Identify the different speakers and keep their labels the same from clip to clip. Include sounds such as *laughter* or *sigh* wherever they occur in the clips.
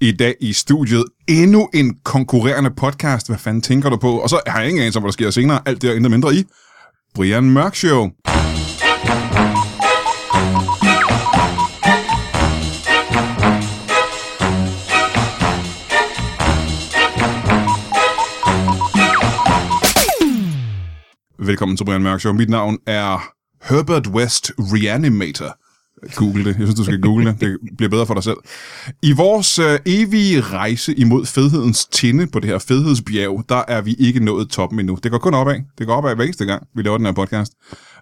Speaker 1: I dag i studiet endnu en konkurrerende podcast. Hvad fanden tænker du på? Og så har jeg ingen anelse om, hvad der sker senere. Alt det og intet mindre i Brian Mørk Show. Velkommen til Brian Mørk Show. Mit navn er Herbert West Reanimator. Google det. Jeg synes, du skal google det. Det bliver bedre for dig selv. I vores øh, evige rejse imod fedhedens tinde på det her fedhedsbjerg, der er vi ikke nået toppen endnu. Det går kun opad. Det går opad hver eneste gang, vi laver den her podcast.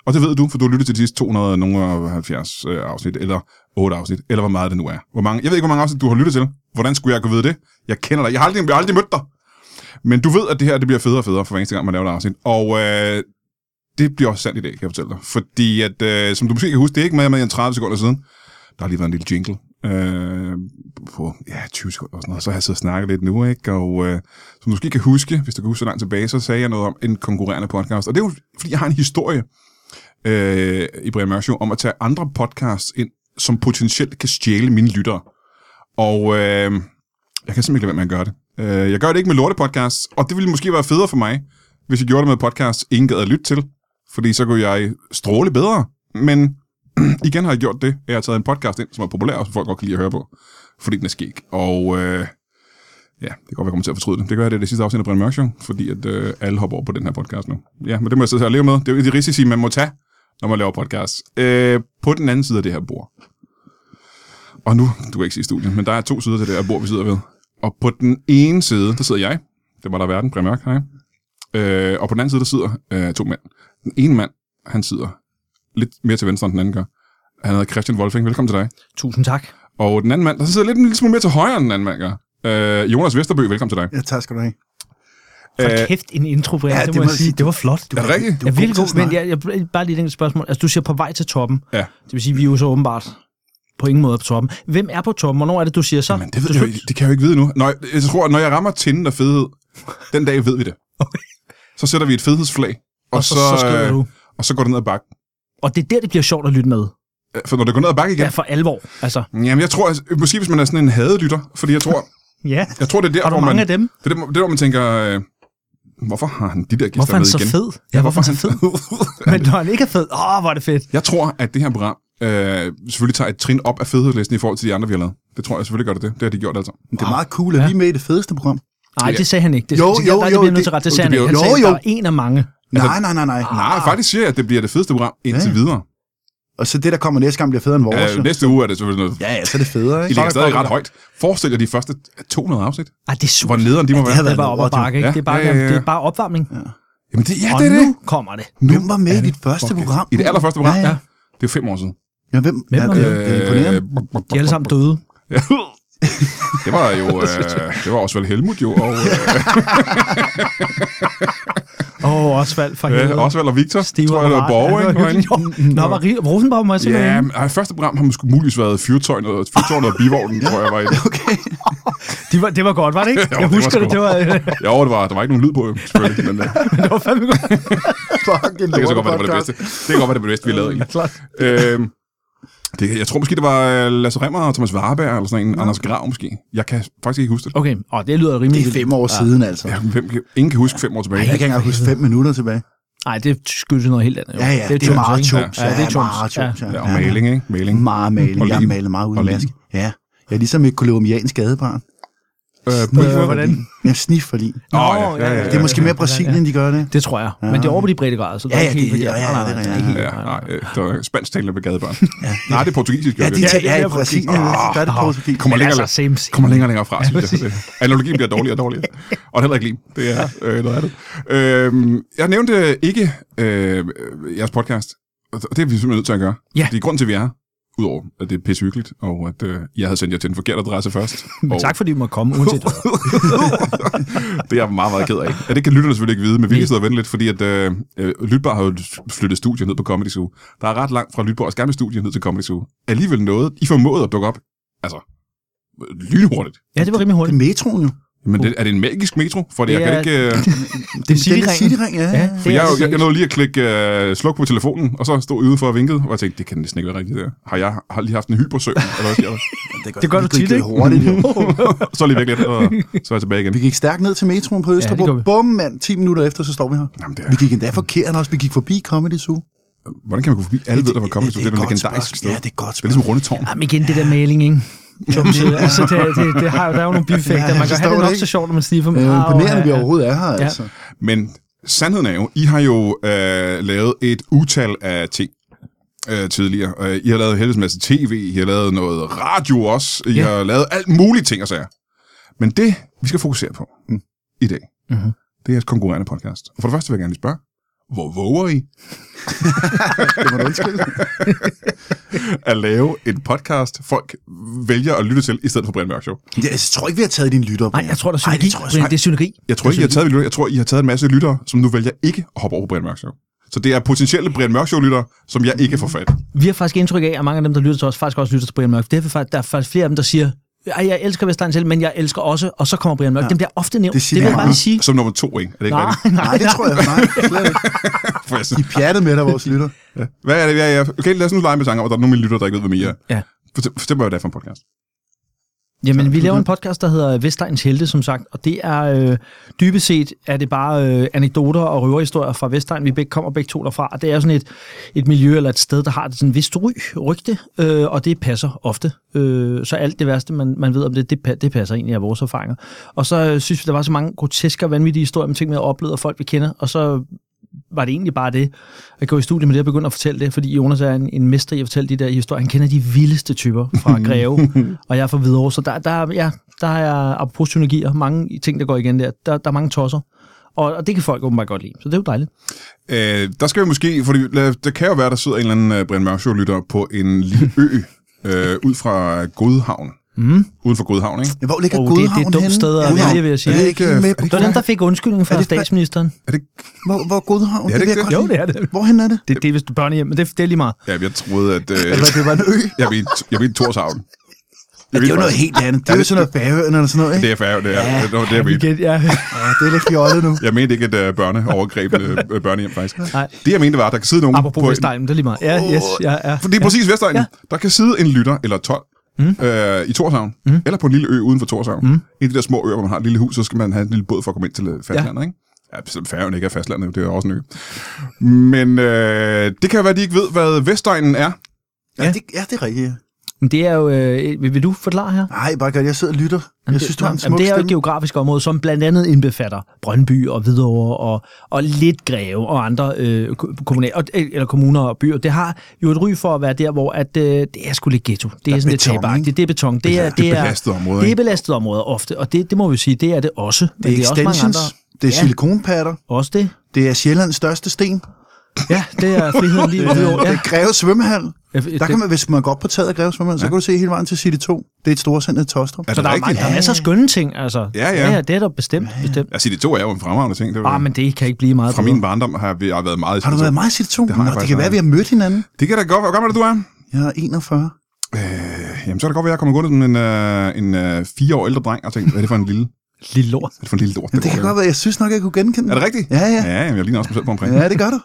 Speaker 1: Og det ved du, for du har lyttet til de sidste 270 øh, afsnit, eller 8 afsnit, eller hvor meget det nu er. Hvor mange, jeg ved ikke, hvor mange afsnit du har lyttet til. Hvordan skulle jeg kunne vide det? Jeg kender dig. Jeg har aldrig, jeg har aldrig mødt dig. Men du ved, at det her det bliver federe og federe for hver eneste gang, man laver et afsnit. Og øh, det bliver også sandt i dag, kan jeg fortælle dig. Fordi at, øh, som du måske kan huske, det er ikke med, med i 30 sekunder siden. Der har lige været en lille jingle øh, på ja, 20 sekunder og sådan noget. Så har jeg siddet og snakket lidt nu, ikke? Og øh, som du måske kan huske, hvis du kan huske så langt tilbage, så sagde jeg noget om en konkurrerende podcast. Og det er jo, fordi jeg har en historie øh, i Brian Mørk Show om at tage andre podcasts ind, som potentielt kan stjæle mine lyttere. Og øh, jeg kan simpelthen ikke lade være med at gøre det. Øh, jeg gør det ikke med lortepodcasts, og det ville måske være federe for mig, hvis jeg gjorde det med podcasts, ingen gad at lytte til, fordi så kunne jeg stråle bedre. Men *clears throat* igen har jeg gjort det, at jeg har taget en podcast ind, som er populær, og som folk godt kan lide at høre på, fordi den er skæg. Og øh, ja, det kan godt være, jeg kommer til at fortryde det. Det kan være, det er det sidste afsnit af Brian Mørk Show, fordi at, øh, alle hopper over på den her podcast nu. Ja, men det må jeg sidde her og leve med. Det er jo de risici, man må tage, når man laver podcast. Øh, på den anden side af det her bord, og nu, du kan ikke se studiet, men der er to sider til det her bord, vi sidder ved. Og på den ene side, der sidder jeg. Det var der verden, Brian Mørk, hej. Øh, og på den anden side, der sidder øh, to mænd. Den ene mand, han sidder lidt mere til venstre, end den anden gør. Han hedder Christian Wolfing. Velkommen til dig.
Speaker 2: Tusind tak.
Speaker 1: Og den anden mand, der sidder lidt en lille smule mere til højre, end den anden mand gør. Øh, Jonas Vesterbø, velkommen til dig.
Speaker 3: Ja, tak skal du have.
Speaker 2: For
Speaker 1: Øh,
Speaker 2: øh, kæft, en intro, Brian,
Speaker 3: ja,
Speaker 2: ja, det,
Speaker 3: det
Speaker 2: må
Speaker 3: må
Speaker 2: jeg
Speaker 3: jeg
Speaker 2: sige.
Speaker 3: sige.
Speaker 2: Det var flot. Du
Speaker 1: Er det rigtigt?
Speaker 2: Jeg er virkelig
Speaker 3: god
Speaker 2: god,
Speaker 3: til
Speaker 2: men jeg,
Speaker 3: at
Speaker 2: jeg, bare lige et enkelt spørgsmål. Altså, du siger på vej til toppen.
Speaker 1: Ja.
Speaker 2: Det vil sige, vi er jo så åbenbart på ingen måde på toppen. Hvem er på toppen? Hvornår er det, du siger så?
Speaker 1: Men det, ved
Speaker 2: Du
Speaker 1: jeg, jo
Speaker 2: synes-
Speaker 1: ikke- det kan jeg jo ikke vide nu. Når jeg, jeg tror, at når jeg rammer tinden af fedhed, den dag ved vi *laughs* det. Så sætter vi et fedhedsflag, og, og så,
Speaker 2: så, så skriver
Speaker 1: øh,
Speaker 2: du.
Speaker 1: og så går det ned ad bakken.
Speaker 2: Og det er der, det bliver sjovt at lytte med.
Speaker 1: Øh, For når det går ned ad bakken igen,
Speaker 2: Ja, for alvor. Altså,
Speaker 1: Jamen, jeg tror, altså, måske hvis man er sådan en hadelytter, fordi jeg tror,
Speaker 2: ja.
Speaker 1: jeg tror det er der,
Speaker 2: Har du
Speaker 1: hvor man,
Speaker 2: mange
Speaker 1: det
Speaker 2: af dem?
Speaker 1: er der, det er der, hvor man tænker, øh, hvorfor har han de der gæster
Speaker 2: Hvorfor er han
Speaker 1: med
Speaker 2: så
Speaker 1: igen?
Speaker 2: fed? Ja, hvorfor er han så fed? *laughs* Men når han ikke er fed, åh, hvor er det fedt.
Speaker 1: jeg tror, at det her program øh, selvfølgelig tager et trin op af fedhedslisten i forhold til de andre, vi har lavet. Det tror jeg selvfølgelig gør det det. Det har de gjort altså.
Speaker 3: Men det er meget cool, at ja. vi er med i det fedeste program.
Speaker 2: Nej, det sagde han ikke. Det,
Speaker 3: Jo,
Speaker 2: det, det,
Speaker 3: jo,
Speaker 2: der,
Speaker 3: jo,
Speaker 2: det bliver jeg nødt
Speaker 3: det-
Speaker 2: til at rette. Det
Speaker 1: det
Speaker 2: sagde han
Speaker 1: bliver-
Speaker 2: ikke. Han
Speaker 3: jo,
Speaker 2: sagde, der
Speaker 3: jo.
Speaker 2: er en af mange.
Speaker 1: Altså-
Speaker 3: nej, nej, nej, nej.
Speaker 1: Nej, faktisk siger jeg, at det bliver det fedeste program indtil
Speaker 3: Ah. Ja.
Speaker 1: videre.
Speaker 3: Og så det, der kommer næste gang, bliver federe end vores.
Speaker 1: Øh,
Speaker 3: jo.
Speaker 1: næste uge er det selvfølgelig noget.
Speaker 3: Ja, ja, så er det federe,
Speaker 1: De
Speaker 3: ikke?
Speaker 1: ligger stadig ret højt. Forestil dig de første 200 afsnit,
Speaker 2: Ej, det er
Speaker 1: hvor
Speaker 2: super.
Speaker 1: nederen de må
Speaker 3: det har
Speaker 1: være.
Speaker 2: Det er
Speaker 3: været
Speaker 2: bare op ad
Speaker 3: lort, jo.
Speaker 2: bakke, ikke?
Speaker 1: Ja,
Speaker 2: Det er bare,
Speaker 1: ja, ja, ja.
Speaker 2: det er bare opvarmning.
Speaker 1: Jamen det, ja,
Speaker 2: Og
Speaker 1: det er det.
Speaker 2: nu kommer det.
Speaker 3: Hvem var med
Speaker 1: er
Speaker 3: i
Speaker 1: det
Speaker 3: dit første
Speaker 1: fucking-
Speaker 3: program?
Speaker 1: I det allerførste program,
Speaker 3: Ja,
Speaker 1: ja.
Speaker 3: ja.
Speaker 1: Det er jo fem år siden.
Speaker 3: ja hvem?
Speaker 2: Hvem
Speaker 3: ja,
Speaker 2: var
Speaker 3: det,
Speaker 2: med?
Speaker 1: Øh,
Speaker 3: det er imponerende.
Speaker 2: De er alle sammen døde.
Speaker 1: Det var *laughs* jo, øh, det var Osvald Helmut jo, og øh,
Speaker 2: Åh, oh, Osvald for helvede.
Speaker 1: øh, Osvald og Victor, Steve tror jeg, det var Borge,
Speaker 2: *laughs*
Speaker 1: *laughs* ikke? Var inde.
Speaker 2: ikke? Nå, var Rie- Rosenborg, må jeg se
Speaker 1: Ja,
Speaker 2: yeah.
Speaker 1: men, ej, første program har måske muligvis været Fyrtøjnet og, Fyrtøjnet og Bivognen, tror jeg var i det. *laughs*
Speaker 3: Okay.
Speaker 2: de var, Det var godt, var det ikke?
Speaker 1: Jo,
Speaker 2: jeg
Speaker 1: det var
Speaker 2: husker det,
Speaker 1: sgu-
Speaker 2: det var,
Speaker 1: Jo, det var, der var ikke nogen lyd på, jo, selvfølgelig, men øh,
Speaker 2: *laughs* det var fandme godt.
Speaker 3: Fucking
Speaker 1: det kan så godt være, det var det bedste. Det kan godt være, det var det bedste, vi lavede. egentlig.
Speaker 2: Klart.
Speaker 1: Øhm, det, jeg tror måske, det var øh, Lasse Remmer og Thomas Warberg, eller sådan en, Anders Grav måske. Jeg kan faktisk ikke huske det.
Speaker 2: Okay, åh, det lyder
Speaker 3: Det
Speaker 2: rimelig
Speaker 3: er fem år siden, altså.
Speaker 1: Ja, hvem, kan- ingen kan huske fem år tilbage.
Speaker 3: Jeg kan ikke engang huske fem minutter tilbage.
Speaker 2: Nej, det skyldes noget helt andet. jo.
Speaker 3: Ja, ja, det er
Speaker 2: Jones,
Speaker 3: meget
Speaker 2: ikke?
Speaker 3: tungt.
Speaker 2: Ja, det er tungt.
Speaker 3: meget tungt.
Speaker 2: Ja.
Speaker 1: Ja, og maling, ikke? Maling.
Speaker 3: Meget maling.
Speaker 1: Og
Speaker 3: Jeg
Speaker 1: lim.
Speaker 3: maler meget
Speaker 1: Og
Speaker 3: uden
Speaker 1: lim.
Speaker 3: mask. Ja. Jeg er ligesom et kolumbiansk gadebarn.
Speaker 1: Øh,
Speaker 2: Øh, hvordan?
Speaker 3: Ja, snif for lige.
Speaker 1: Åh,
Speaker 2: Nå,
Speaker 1: ja, ja, ja, ja.
Speaker 3: Det er måske mere Brasilien, de gør det.
Speaker 2: Det tror jeg. Men det er over på de brede grader, så
Speaker 3: Ja,
Speaker 2: er
Speaker 3: ja,
Speaker 2: ikke
Speaker 3: det-
Speaker 2: helt
Speaker 3: ja, ja,
Speaker 2: forkert. Nej,
Speaker 3: det er
Speaker 2: nej,
Speaker 3: rigtigt.
Speaker 2: ikke helt.
Speaker 1: Ja, nej, øh, det var spansktalende med *laughs* gadebørn. Nej, det er portugisisk.
Speaker 3: Ja,
Speaker 1: jo,
Speaker 3: de
Speaker 1: det.
Speaker 2: Ja, det
Speaker 3: tager
Speaker 2: er
Speaker 3: ja,
Speaker 2: mere
Speaker 3: præcis.
Speaker 2: Portugis.
Speaker 3: Ja, der er det
Speaker 2: Åh,
Speaker 3: portugis.
Speaker 1: Kommer
Speaker 2: Men
Speaker 1: længere,
Speaker 2: altså, same, same.
Speaker 1: kommer længere og længere fra, synes jeg. Analogien bliver dårligere og dårligere. Og heller ikke lige. Det er øh, noget andet. Øh, jeg nævnte ikke øh, jeres podcast, og det er vi simpelthen nødt til at gøre.
Speaker 2: Ja.
Speaker 1: Det er grunden til, at vi er her. Udover, at det er pissehyggeligt, og at øh, jeg havde sendt jer til den forkerte adresse *laughs* først.
Speaker 2: Men
Speaker 1: Og
Speaker 2: tak fordi du måtte komme, uanset hvad.
Speaker 1: det er jeg meget, meget ked af. Ja, det kan lytterne selvfølgelig ikke vide, men vi kan sidde og vente lidt, fordi at, øh, øh, Lytbar har jo flyttet studiet ned på Comedy Zoo. Der er ret langt fra Lytbars gamle studie ned til Comedy Zoo. Alligevel noget, I formåede at dukke op. Altså, øh, lynhurtigt.
Speaker 2: Ja, det var rimelig
Speaker 3: Det
Speaker 2: hurtigt.
Speaker 3: er metroen jo.
Speaker 1: Men det, er det en magisk metro? For det, jeg
Speaker 2: Det
Speaker 1: kan
Speaker 2: er-
Speaker 3: *laughs*
Speaker 1: ikke... Øh,
Speaker 3: Den, den
Speaker 2: Cityringen.
Speaker 3: er Cityring, ja. ja.
Speaker 1: for jeg, jeg, jeg nåede lige at klikke øh, sluk på telefonen, og så stod ude for og vinkede, og jeg tænkte, det kan næsten ikke være rigtigt der. Har jeg har lige haft en hypersøvn, eller hvad sker
Speaker 3: *laughs*
Speaker 1: der?
Speaker 2: Det gør
Speaker 3: vi
Speaker 2: du
Speaker 3: gik
Speaker 2: tit,
Speaker 3: lidt
Speaker 2: ikke?
Speaker 3: Hurtigt, jo.
Speaker 1: så er jeg lige væk lidt, og så er jeg tilbage igen.
Speaker 3: vi gik stærkt ned til metroen på Østerbro.
Speaker 2: det gør vi.
Speaker 3: Ja, Bum, mand. 10 minutter efter, så står vi her.
Speaker 1: Jamen, det
Speaker 3: Vi
Speaker 1: er,
Speaker 3: gik endda forkert også. Vi gik forbi Comedy Zoo.
Speaker 1: hvordan kan man gå forbi? Alle ved, der var kommet, så det er
Speaker 3: et
Speaker 1: et
Speaker 3: godt
Speaker 1: legendarisk
Speaker 3: spørgsmål.
Speaker 1: sted.
Speaker 3: Ja, det er et godt
Speaker 1: Det er ligesom Rundetårn.
Speaker 2: Jamen igen, det der maling, ikke? Som det, altså, det, det, det, har jo, der er jo nogle bifægter.
Speaker 3: Ja,
Speaker 2: Man
Speaker 3: jeg
Speaker 2: kan have
Speaker 3: forstår
Speaker 2: det
Speaker 3: det
Speaker 2: nok
Speaker 3: ikke.
Speaker 2: så sjovt, når man stiger for
Speaker 3: Det er jo imponerende, vi overhovedet er her,
Speaker 2: Ja.
Speaker 3: altså.
Speaker 1: Men sandheden er jo, I har jo øh, lavet et utal af ting øh, tidligere. Øh, I har lavet en helvedes masse tv, I har lavet noget radio også, I
Speaker 2: Ja.
Speaker 1: har lavet alt muligt ting og sager. Men det, vi skal fokusere på mm. i dag,
Speaker 2: Mhm.
Speaker 1: det er jeres konkurrerende podcast. Og for det første vil jeg gerne lige spørge, hvor våger I
Speaker 3: Det må du undskylde.
Speaker 1: at lave en podcast, folk vælger at lytte til, i stedet for Brian Mørk Show?
Speaker 3: Ja, Jeg tror ikke, vi har taget din lytter.
Speaker 2: Nej, jeg tror, der er synergi.
Speaker 3: Ej, det tror jeg sgu
Speaker 2: Brian, det er synergi.
Speaker 1: Jeg tror ikke, I har taget, jeg tror, I har taget en masse lyttere, som nu vælger ikke at hoppe over på Brian Mørk Show. Så det er potentielle Brian Mørk Show-lyttere, som jeg ikke får fat.
Speaker 2: Vi har faktisk indtryk af, at mange af dem, der lytter til os, faktisk også lytter til Brian Mørk. Det er, vi faktisk- der er faktisk flere af dem, der siger, ej, jeg elsker Vestegn selv, men jeg elsker også, og så kommer Brian Mørk. Ja. Dem bliver ofte nævnt.
Speaker 3: Det
Speaker 2: Det,
Speaker 3: siger
Speaker 2: det vil
Speaker 3: de
Speaker 2: jeg bare
Speaker 3: meget.
Speaker 2: lige sige.
Speaker 1: Som nummer to, ikke? Er det ikke
Speaker 2: *laughs* Nej,
Speaker 1: rigtigt?
Speaker 3: Nej, det tror jeg. Nej, slet ikke.
Speaker 1: For jeg
Speaker 3: De
Speaker 1: siger,
Speaker 3: pjattede med dig, vores lytter.
Speaker 1: hvad er det, hvad er jeg? Okay, lad os nu lege med tanker, og der er nogle af mine lytter, der ikke ved, hvad mere er.
Speaker 2: Ja.
Speaker 1: Fortæl, fortæl mig, hvad det er for en podcast.
Speaker 2: Jamen, vi laver en podcast, der hedder Vestegns Helte, som sagt, og det er øh, dybest set, er det bare øh, anekdoter og røverhistorier fra Vestegn, vi begge kommer begge to derfra, og det er sådan et, et miljø eller et sted, der har et sådan vist ry, rygte, øh, og det passer ofte. Øh, så alt det værste, man, man ved om det, det, pa- det passer egentlig af vores erfaringer. Og så øh, synes vi, der var så mange groteske og vanvittige historier om ting, vi havde oplevet, og folk vi kender, og så var det egentlig bare det, at gå i studiet med det og begynde at fortælle det, fordi Jonas er en, en mester i at fortælle de der historier. Han kender de vildeste typer fra Greve, og jeg er fra Hvidovre, så der, der, ja, der er apropos synergier, mange ting, der går igen der. Der, der er mange tosser, og, og det kan folk åbenbart godt lide, så det er jo dejligt.
Speaker 1: Øh, der skal vi måske, fordi lad- det kan jo være, der sidder en eller anden øh, Brian Mørk Show-lytter på en lille ø
Speaker 2: *laughs*
Speaker 1: øh, ud fra Godhavn.
Speaker 2: Mm.
Speaker 1: Uden for Godhavn, ikke?
Speaker 3: Men Hvor ligger
Speaker 2: Oh, det- det er
Speaker 3: Godhavn
Speaker 2: et dumt
Speaker 3: henne?
Speaker 2: sted at
Speaker 3: Godhavn.
Speaker 2: vælge, vil jeg sige.
Speaker 3: Er det ikke,
Speaker 1: Er det
Speaker 3: med,
Speaker 1: ikke-
Speaker 2: Det var dem, der fik undskyldningen fra
Speaker 3: Er det ikke-
Speaker 2: statsministeren.
Speaker 1: Er det ikke?
Speaker 3: hvor, hvor er Godhavn?
Speaker 1: Ja, det
Speaker 3: vil jeg
Speaker 1: kan-
Speaker 3: godt lide.
Speaker 2: er det.
Speaker 3: Hvorhen er det?
Speaker 2: Det, det er vist børnehjem, men det, det er lige meget.
Speaker 1: Ja, jeg troede, at... Øh,
Speaker 3: Eller det var en ø?
Speaker 1: jeg ved, jeg ved Torshavn. Jeg
Speaker 3: Det er jo noget helt andet. Det er jo sådan noget Færøerne eller sådan noget, ikke?
Speaker 1: Det er færdig, det er. Det var det, jeg mente.
Speaker 2: Igen, ja. *laughs*
Speaker 3: Ja, det er lidt fjollet nu.
Speaker 1: Jeg mente ikke et øh, børneovergreb, øh, børnehjem faktisk.
Speaker 2: Nej.
Speaker 1: Det, jeg mente, var, at der kan sidde nogen
Speaker 2: Apropos
Speaker 1: på en,
Speaker 2: Vestegn, det er lige meget. Ja, yes, ja, ja.
Speaker 1: For det er præcis Vestegnen. Ja.
Speaker 2: Ja.
Speaker 1: Der kan sidde en lytter, eller 12, mm. øh, i Torshavn, mm. eller på en lille ø uden for Torshavn. Mm. En af de der små øer, hvor man har et lille hus, så skal man have en lille båd for at komme ind til øh, fastlandet, ja. ikke? Ja, selvom færøen ikke er fastlandet, det er også en ø. Men øh, det kan være, at de ikke ved, hvad Vestegnen er.
Speaker 3: Ja, det, ja, det er rigtigt. ja.
Speaker 2: Men det er jo... Øh, vil, vil du forklare her?
Speaker 3: Nej, bare godt. Jeg sidder og lytter. Jeg synes, du har en
Speaker 2: Jamen,
Speaker 3: smuk
Speaker 2: det er jo et
Speaker 3: stemme.
Speaker 2: geografisk område, som blandt andet indbefatter Brøndby og Hvidovre og, og lidt Greve og andre øh, ko- kommunal, og, eller kommuner og byer. Det har jo et ry for at være der, hvor at, øh, det er sgu lidt ghetto. Det er,
Speaker 3: er
Speaker 2: sådan lidt
Speaker 3: beton, ikke?
Speaker 2: tabagtigt. Det er beton. Det er,
Speaker 1: Det er belastet område,
Speaker 2: Det er
Speaker 1: ikke?
Speaker 2: belastet område ofte, og det, det må vi sige, det er det også. Men
Speaker 3: Det er extensions. Det er
Speaker 2: Ja.
Speaker 3: silikonpatter.
Speaker 2: Også det.
Speaker 3: Det er Sjællands største sten.
Speaker 2: Ja, det er friheden lige
Speaker 3: Øh,
Speaker 2: ved ja.
Speaker 3: *laughs* Det er Greve svømmehal.
Speaker 2: Ja,
Speaker 3: Der
Speaker 2: det-
Speaker 3: kan man, hvis man går op på taget af Greve svømmehal, så kan du se hele vejen til City 2. Det er et stort center i Tostrup.
Speaker 1: Er
Speaker 2: Så
Speaker 1: det
Speaker 2: der er,
Speaker 1: rigtigt?
Speaker 2: mange, der er masser af skønne ting, altså.
Speaker 1: Ja, ja.
Speaker 2: ja det er der bestemt, bestemt.
Speaker 1: Jeg siger, det to er jo en fremragende ting. Det var,
Speaker 2: Ah, men det kan ikke blive meget
Speaker 1: Fra
Speaker 2: bedre.
Speaker 1: min barndom har vi- jeg har været meget... i
Speaker 3: Har du
Speaker 1: City
Speaker 3: været
Speaker 1: to.
Speaker 3: meget i City 2? Det,
Speaker 1: altså, har jeg
Speaker 3: Nå, det
Speaker 1: faktisk
Speaker 3: kan være,
Speaker 1: været.
Speaker 3: at vi har mødt hinanden.
Speaker 1: Det kan da godt være. Hvor gammel er du er?
Speaker 3: Jeg er 41.
Speaker 1: Øh, jamen, så er det godt være, at jeg kommer gået som en, øh, en øh, fire år ældre dreng og tænkte, hvad er det for en lille, hvad
Speaker 2: Lille lort.
Speaker 1: er det for en lille lort?
Speaker 3: Men det kan godt være, jeg synes nok, jeg kunne genkende
Speaker 1: Er
Speaker 3: den.
Speaker 1: det rigtigt?
Speaker 3: Ja, ja.
Speaker 1: Ja, jamen, jeg ligner også mig selv på omkring.
Speaker 3: Ja, det gør
Speaker 1: *laughs*
Speaker 3: du.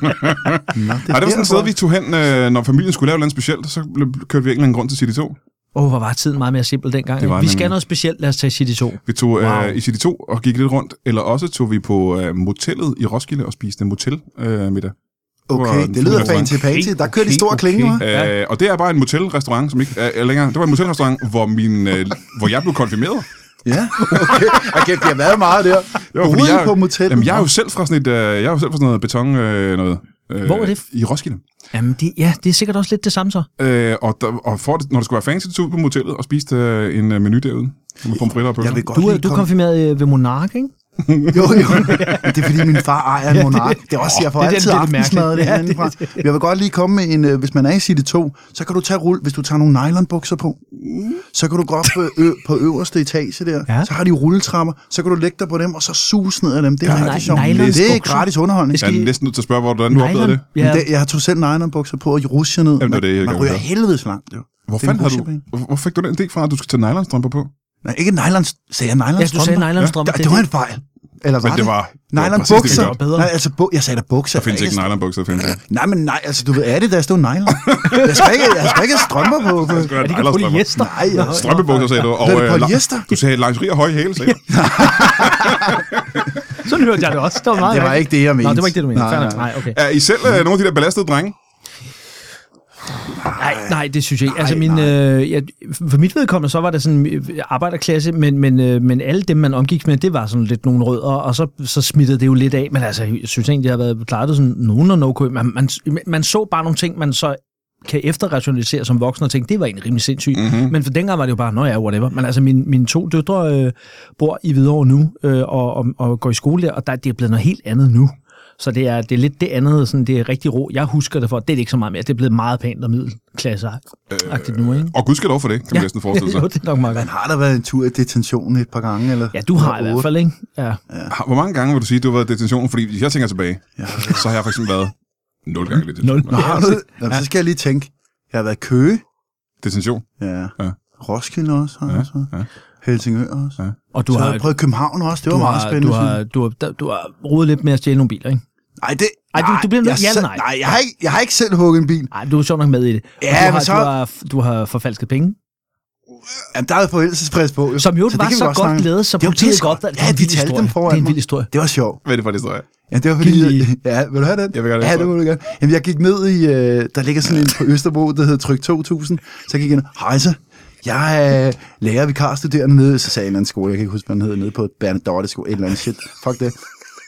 Speaker 3: Nå,
Speaker 1: Ej, det var
Speaker 3: bliver
Speaker 1: sådan et
Speaker 3: der,
Speaker 1: sted, vi tog hen, øh, når familien skulle lave noget specielt, så blev- kørte vi en eller anden grund til City 2.
Speaker 2: Åh, oh, hvor var tiden meget mere simpel dengang.
Speaker 1: Det var
Speaker 2: ikke? Vi
Speaker 1: den
Speaker 2: skal
Speaker 1: nemlig.
Speaker 2: noget specielt, lad os tage City 2.
Speaker 1: Vi tog wow.
Speaker 2: Wow.
Speaker 1: øh, i City 2 og gik lidt rundt, eller også tog vi på øh, motellet i Roskilde og spiste en motel øh, middag.
Speaker 3: tror jeg. Okay, det lyder
Speaker 1: Okay,
Speaker 3: fancy pansy. Der kører de store
Speaker 2: okay.
Speaker 3: klinge, hva'?
Speaker 1: Ja. Øh, og det er bare en motelrestaurant, som ikke er, er længere. Det var en motelrestaurant, hvor, min, øh, hvor jeg blev konfirmeret.
Speaker 3: Ja, okay. Okay, det har været
Speaker 2: *laughs*
Speaker 3: meget der.
Speaker 1: Jo, fordi
Speaker 3: Ude
Speaker 1: jeg,
Speaker 3: på motellet.
Speaker 1: Jamen, jeg er jo selv fra sådan, et, øh, jeg er jo selv fra sådan noget beton øh, noget. Øh,
Speaker 2: Hvor er det?
Speaker 1: I Roskilde.
Speaker 2: Jamen, det, ja, det er sikkert også lidt det samme så.
Speaker 1: Øh, og, der, og for det, når det skulle være fancy, så tog vi ud på motellet og spiste øh, en øh, menu derude. Med pomfritter og pølser.
Speaker 3: Jeg vil godt
Speaker 2: Du, er-
Speaker 3: lige
Speaker 2: du er
Speaker 3: komme-
Speaker 2: konfirmeret øh, ved Monark, ikke? *laughs*
Speaker 3: Jo, jo. Men Det er fordi, min far ejer en monark. Det er også, jeg får
Speaker 2: det er
Speaker 3: altid
Speaker 2: den lidt
Speaker 3: aftensmad
Speaker 2: mærkelige. Ja,
Speaker 3: det fra. Men Jeg vil godt lige komme med en, øh, hvis man er i City 2, så kan du tage rulle, hvis du tager nogle nylonbukser på, så kan du gå op på, ø- på øverste etage der,
Speaker 2: Ja.
Speaker 3: ja. så har de rulletrapper, så kan du lægge dig på dem, og så sus ned ad dem. Det er
Speaker 2: Ja,
Speaker 3: rigtig
Speaker 2: nej,
Speaker 3: sjovt.
Speaker 2: nylonbukser.
Speaker 3: Det er gratis underholdning.
Speaker 1: Jeg er næsten nødt til at spørge, hvordan du oplevede det.
Speaker 2: Ja,
Speaker 3: Ja. Det, jeg har tog selv nylonbukser på og rusher ned.
Speaker 1: det var det, jeg
Speaker 3: man
Speaker 1: gerne
Speaker 3: ryger
Speaker 1: ville
Speaker 3: helvedes langt, jo.
Speaker 1: Hvor
Speaker 3: Det er en
Speaker 1: fanden har du,
Speaker 3: rutsjebane.
Speaker 1: hvor- hvor fik du den idé fra, at du skal tage nylonstrømper på?
Speaker 3: Nej, ikke nylon, sagde jeg nylon
Speaker 2: Ja, du sagde nylonstrømper.
Speaker 3: Ja, det, det var en fejl. Eller var
Speaker 1: Men det var- det var
Speaker 3: Nylon
Speaker 1: præcis det, vi
Speaker 3: bukser.
Speaker 1: gjorde.
Speaker 2: Bedre.
Speaker 3: Nej, altså, bu- jeg sagde da bukser.
Speaker 1: Der findes ikke nylonbukser, der findes ikke.
Speaker 3: Nej, men nej, altså, du ved, er det, der stod nylon? jeg skal ikke, jeg skal ikke have strømper på. for-
Speaker 2: Er det ikke polyester?
Speaker 3: Nej, jeg-
Speaker 1: Strømpebukser, sagde du. Og,
Speaker 3: Hvad er det,
Speaker 1: øh, la-
Speaker 3: polyester?
Speaker 1: Du sagde lingerie og høje hæle,
Speaker 2: *laughs*
Speaker 1: sagde du.
Speaker 2: Sådan hørte jeg det også. Det var, meget
Speaker 3: det var
Speaker 2: rigtigt.
Speaker 3: ikke det, jeg mente.
Speaker 2: Nå, det var ikke det, du mente.
Speaker 3: Nej,
Speaker 2: Nej, nej.
Speaker 3: nej.
Speaker 2: nej okay.
Speaker 1: Er I selv øh, nogle af de der belastede drenge?
Speaker 2: Nej, nej, det synes jeg ikke. Altså,
Speaker 3: Nej,
Speaker 2: min, øh, jeg, for mit vedkommende, så var det sådan øh, arbejderklasse, men, men, øh, men alle dem, man omgik med, det var sådan lidt nogle rødder, og så, så smittede det jo lidt af. Men altså, jeg synes egentlig, jeg har været klaret det sådan nogenlunde okay. Man, man, man så bare nogle ting, man så kan efterrationalisere som voksen og tænke, det var egentlig rimelig sindssygt.
Speaker 1: Mhm.
Speaker 2: Mm-hmm. Men for dengang var det jo bare, nå ja, whatever. Men altså, min, mine to døtre øh, bor i Hvidovre nu, øh, og, og, og går i skole der, og der, det er blevet noget helt andet nu. Så det er, det er lidt det andet, sådan, det er rigtig ro. Jeg husker det for, det er det ikke så meget mere. Det er blevet meget pænt og middelklasse-agtigt nu, ikke?
Speaker 1: Og gud skal lov for det, Øh, kan man næsten forestille sig.
Speaker 2: *laughs* jo, det er nok meget godt.
Speaker 3: Men har der været en tur i detentionen et par gange? Eller?
Speaker 2: Ja, du har i
Speaker 3: Eller
Speaker 2: hvert
Speaker 3: otte?
Speaker 2: fald, ikke? Ja.
Speaker 1: Har- Hvor mange gange vil du sige, at du har været i detention? Fordi hvis jeg tænker tilbage, så har jeg faktisk været 0 gange i
Speaker 2: Nul.
Speaker 1: detention.
Speaker 3: Nå, har du det? Nå, så skal jeg lige tænke. Jeg har været i Køge.
Speaker 1: Detention.
Speaker 3: Ja.
Speaker 1: Ja.
Speaker 3: Roskilde også. Har jeg også. været.
Speaker 1: ja.
Speaker 3: Helsingør også.
Speaker 1: Ja.
Speaker 2: Og du
Speaker 3: Så har
Speaker 2: har,
Speaker 3: jeg prøvet København også. Det
Speaker 2: du
Speaker 3: var meget
Speaker 2: har,
Speaker 3: spændende.
Speaker 2: du har, du har, du har rodet lidt med at stjæle nogle biler, ikke?
Speaker 3: Nej, det...
Speaker 2: Ej, du- du bliver nødt-
Speaker 3: jeg
Speaker 2: ja eller
Speaker 3: selv-
Speaker 2: nej?
Speaker 3: nej jeg, har ikke, jeg har ikke selv hugget en bil.
Speaker 2: Nej, du er sjov nok med i det. Og
Speaker 3: Ja,
Speaker 2: du, har,
Speaker 3: men så-
Speaker 2: du, har, du har forfalsket penge.
Speaker 3: Jamen, der er forældelsesfrist på.
Speaker 2: Som jo
Speaker 3: det
Speaker 2: var
Speaker 3: kan vi
Speaker 2: så
Speaker 3: godt
Speaker 2: godt
Speaker 3: snakke om.
Speaker 2: glæde, så
Speaker 3: Det var
Speaker 2: politiet
Speaker 3: pissegodt.
Speaker 2: godt, at det
Speaker 3: Ja,
Speaker 2: er en
Speaker 3: de
Speaker 2: vild
Speaker 3: talte
Speaker 2: historie.
Speaker 3: dem foran
Speaker 2: Det er en
Speaker 3: mig.
Speaker 2: vild historie.
Speaker 3: Det var sjovt.
Speaker 1: Hvad er det for en historie?
Speaker 3: Ja, det var
Speaker 2: Giv
Speaker 3: fordi...
Speaker 2: lige-
Speaker 3: *laughs* Ja, vil du have den?
Speaker 1: Jeg vil gerne
Speaker 3: Ja,
Speaker 1: have
Speaker 3: det
Speaker 1: den.
Speaker 3: må du gerne. Jamen, jeg gik ned i... Øh, der ligger sådan en på Østerbro, der hedder Tryk 2000. Så gik jeg ned. Hej så. Jeg er lærer, vikarstuderende nede, så sagde en eller anden skole, jeg kan ikke huske, hvad den hed, nede på Bernadotte skole, et eller andet shit. Fuck det.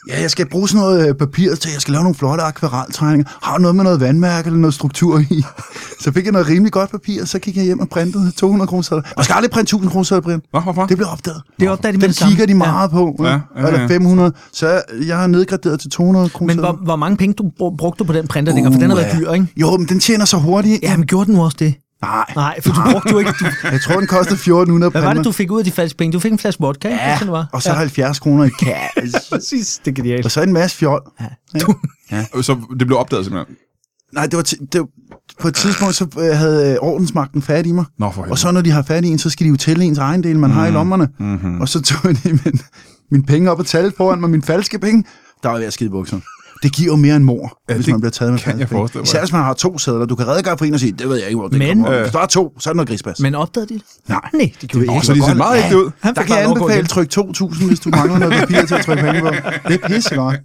Speaker 3: Ja, jeg skal bruge sådan noget øh, papir til, jeg skal lave nogle flotte akvareltegninger. Har noget med noget vandmærke eller noget struktur i. *laughs* Så fik jeg noget rimelig godt papir, så gik jeg hjem og printede 200 kroner sædler. Man skal aldrig printe 1000 kroner sædler, Brian.
Speaker 1: Nå, hvorfor?
Speaker 3: Det blev opdaget.
Speaker 2: Det opdager de med
Speaker 3: Den
Speaker 2: det samme.
Speaker 3: kigger de
Speaker 2: Ja.
Speaker 3: meget ja. på. Ja, ja, ja. Eller 500. Så jeg- jeg har nedgraderet til 200 kroner.
Speaker 2: Men hvor, hvor mange penge du br- brugte du på den printer, uh, for den har været dyr, ikke?
Speaker 3: Jo, men den tjener så hurtigt. Ja.
Speaker 2: Jamen, gjorde den nu også det?
Speaker 3: Nej.
Speaker 2: Nej, for du brugte jo ikke... Du,
Speaker 3: Jeg tror, den kostede 1400
Speaker 2: hvad var det,
Speaker 3: pande.
Speaker 2: du fik ud af de falske penge? Du fik en flaske vodka, ikke?
Speaker 3: Ja,
Speaker 2: Sådan det var.
Speaker 3: og så 70 kroner i
Speaker 2: *laughs*
Speaker 3: cash.
Speaker 2: Præcis, det er genialt.
Speaker 3: Og så en masse fjol.
Speaker 1: Så det blev opdaget simpelthen.
Speaker 3: Nej, det var, ti- det var på et tidspunkt, så øh, havde øh, ordensmagten fat i mig.
Speaker 1: Nå, for helvede. Mhm.
Speaker 3: og så når de har fat i en, så skal de jo tælle ens egen del, man har i lommerne. Mm-hmm. Og så tog de min, mine penge op og talte foran mig, mine falske penge. Der var jeg skide bukser. Det giver jo mere end mor, ja, hvis
Speaker 1: det
Speaker 3: man bliver taget med
Speaker 1: kan jeg
Speaker 3: falske penge.
Speaker 1: forestille mig.
Speaker 3: Især hvis man har to sædler. Du kan redegøre for en og sige, det ved jeg ikke, hvor det
Speaker 2: Men-
Speaker 3: kommer. fra." Hvis der er to, så er det noget grisbas.
Speaker 2: Men opdagede de det?
Speaker 3: Nej.
Speaker 2: Nej, det gjorde de
Speaker 1: Åh,
Speaker 2: ikke.
Speaker 1: så de ser meget ægte ud.
Speaker 2: Han
Speaker 3: der
Speaker 2: fik
Speaker 3: kan
Speaker 2: bare
Speaker 3: jeg
Speaker 2: lov at gå
Speaker 3: anbefale
Speaker 2: igen.
Speaker 3: tryk 2000, hvis du mangler noget papir til at trykke penge på. Det er pissegodt.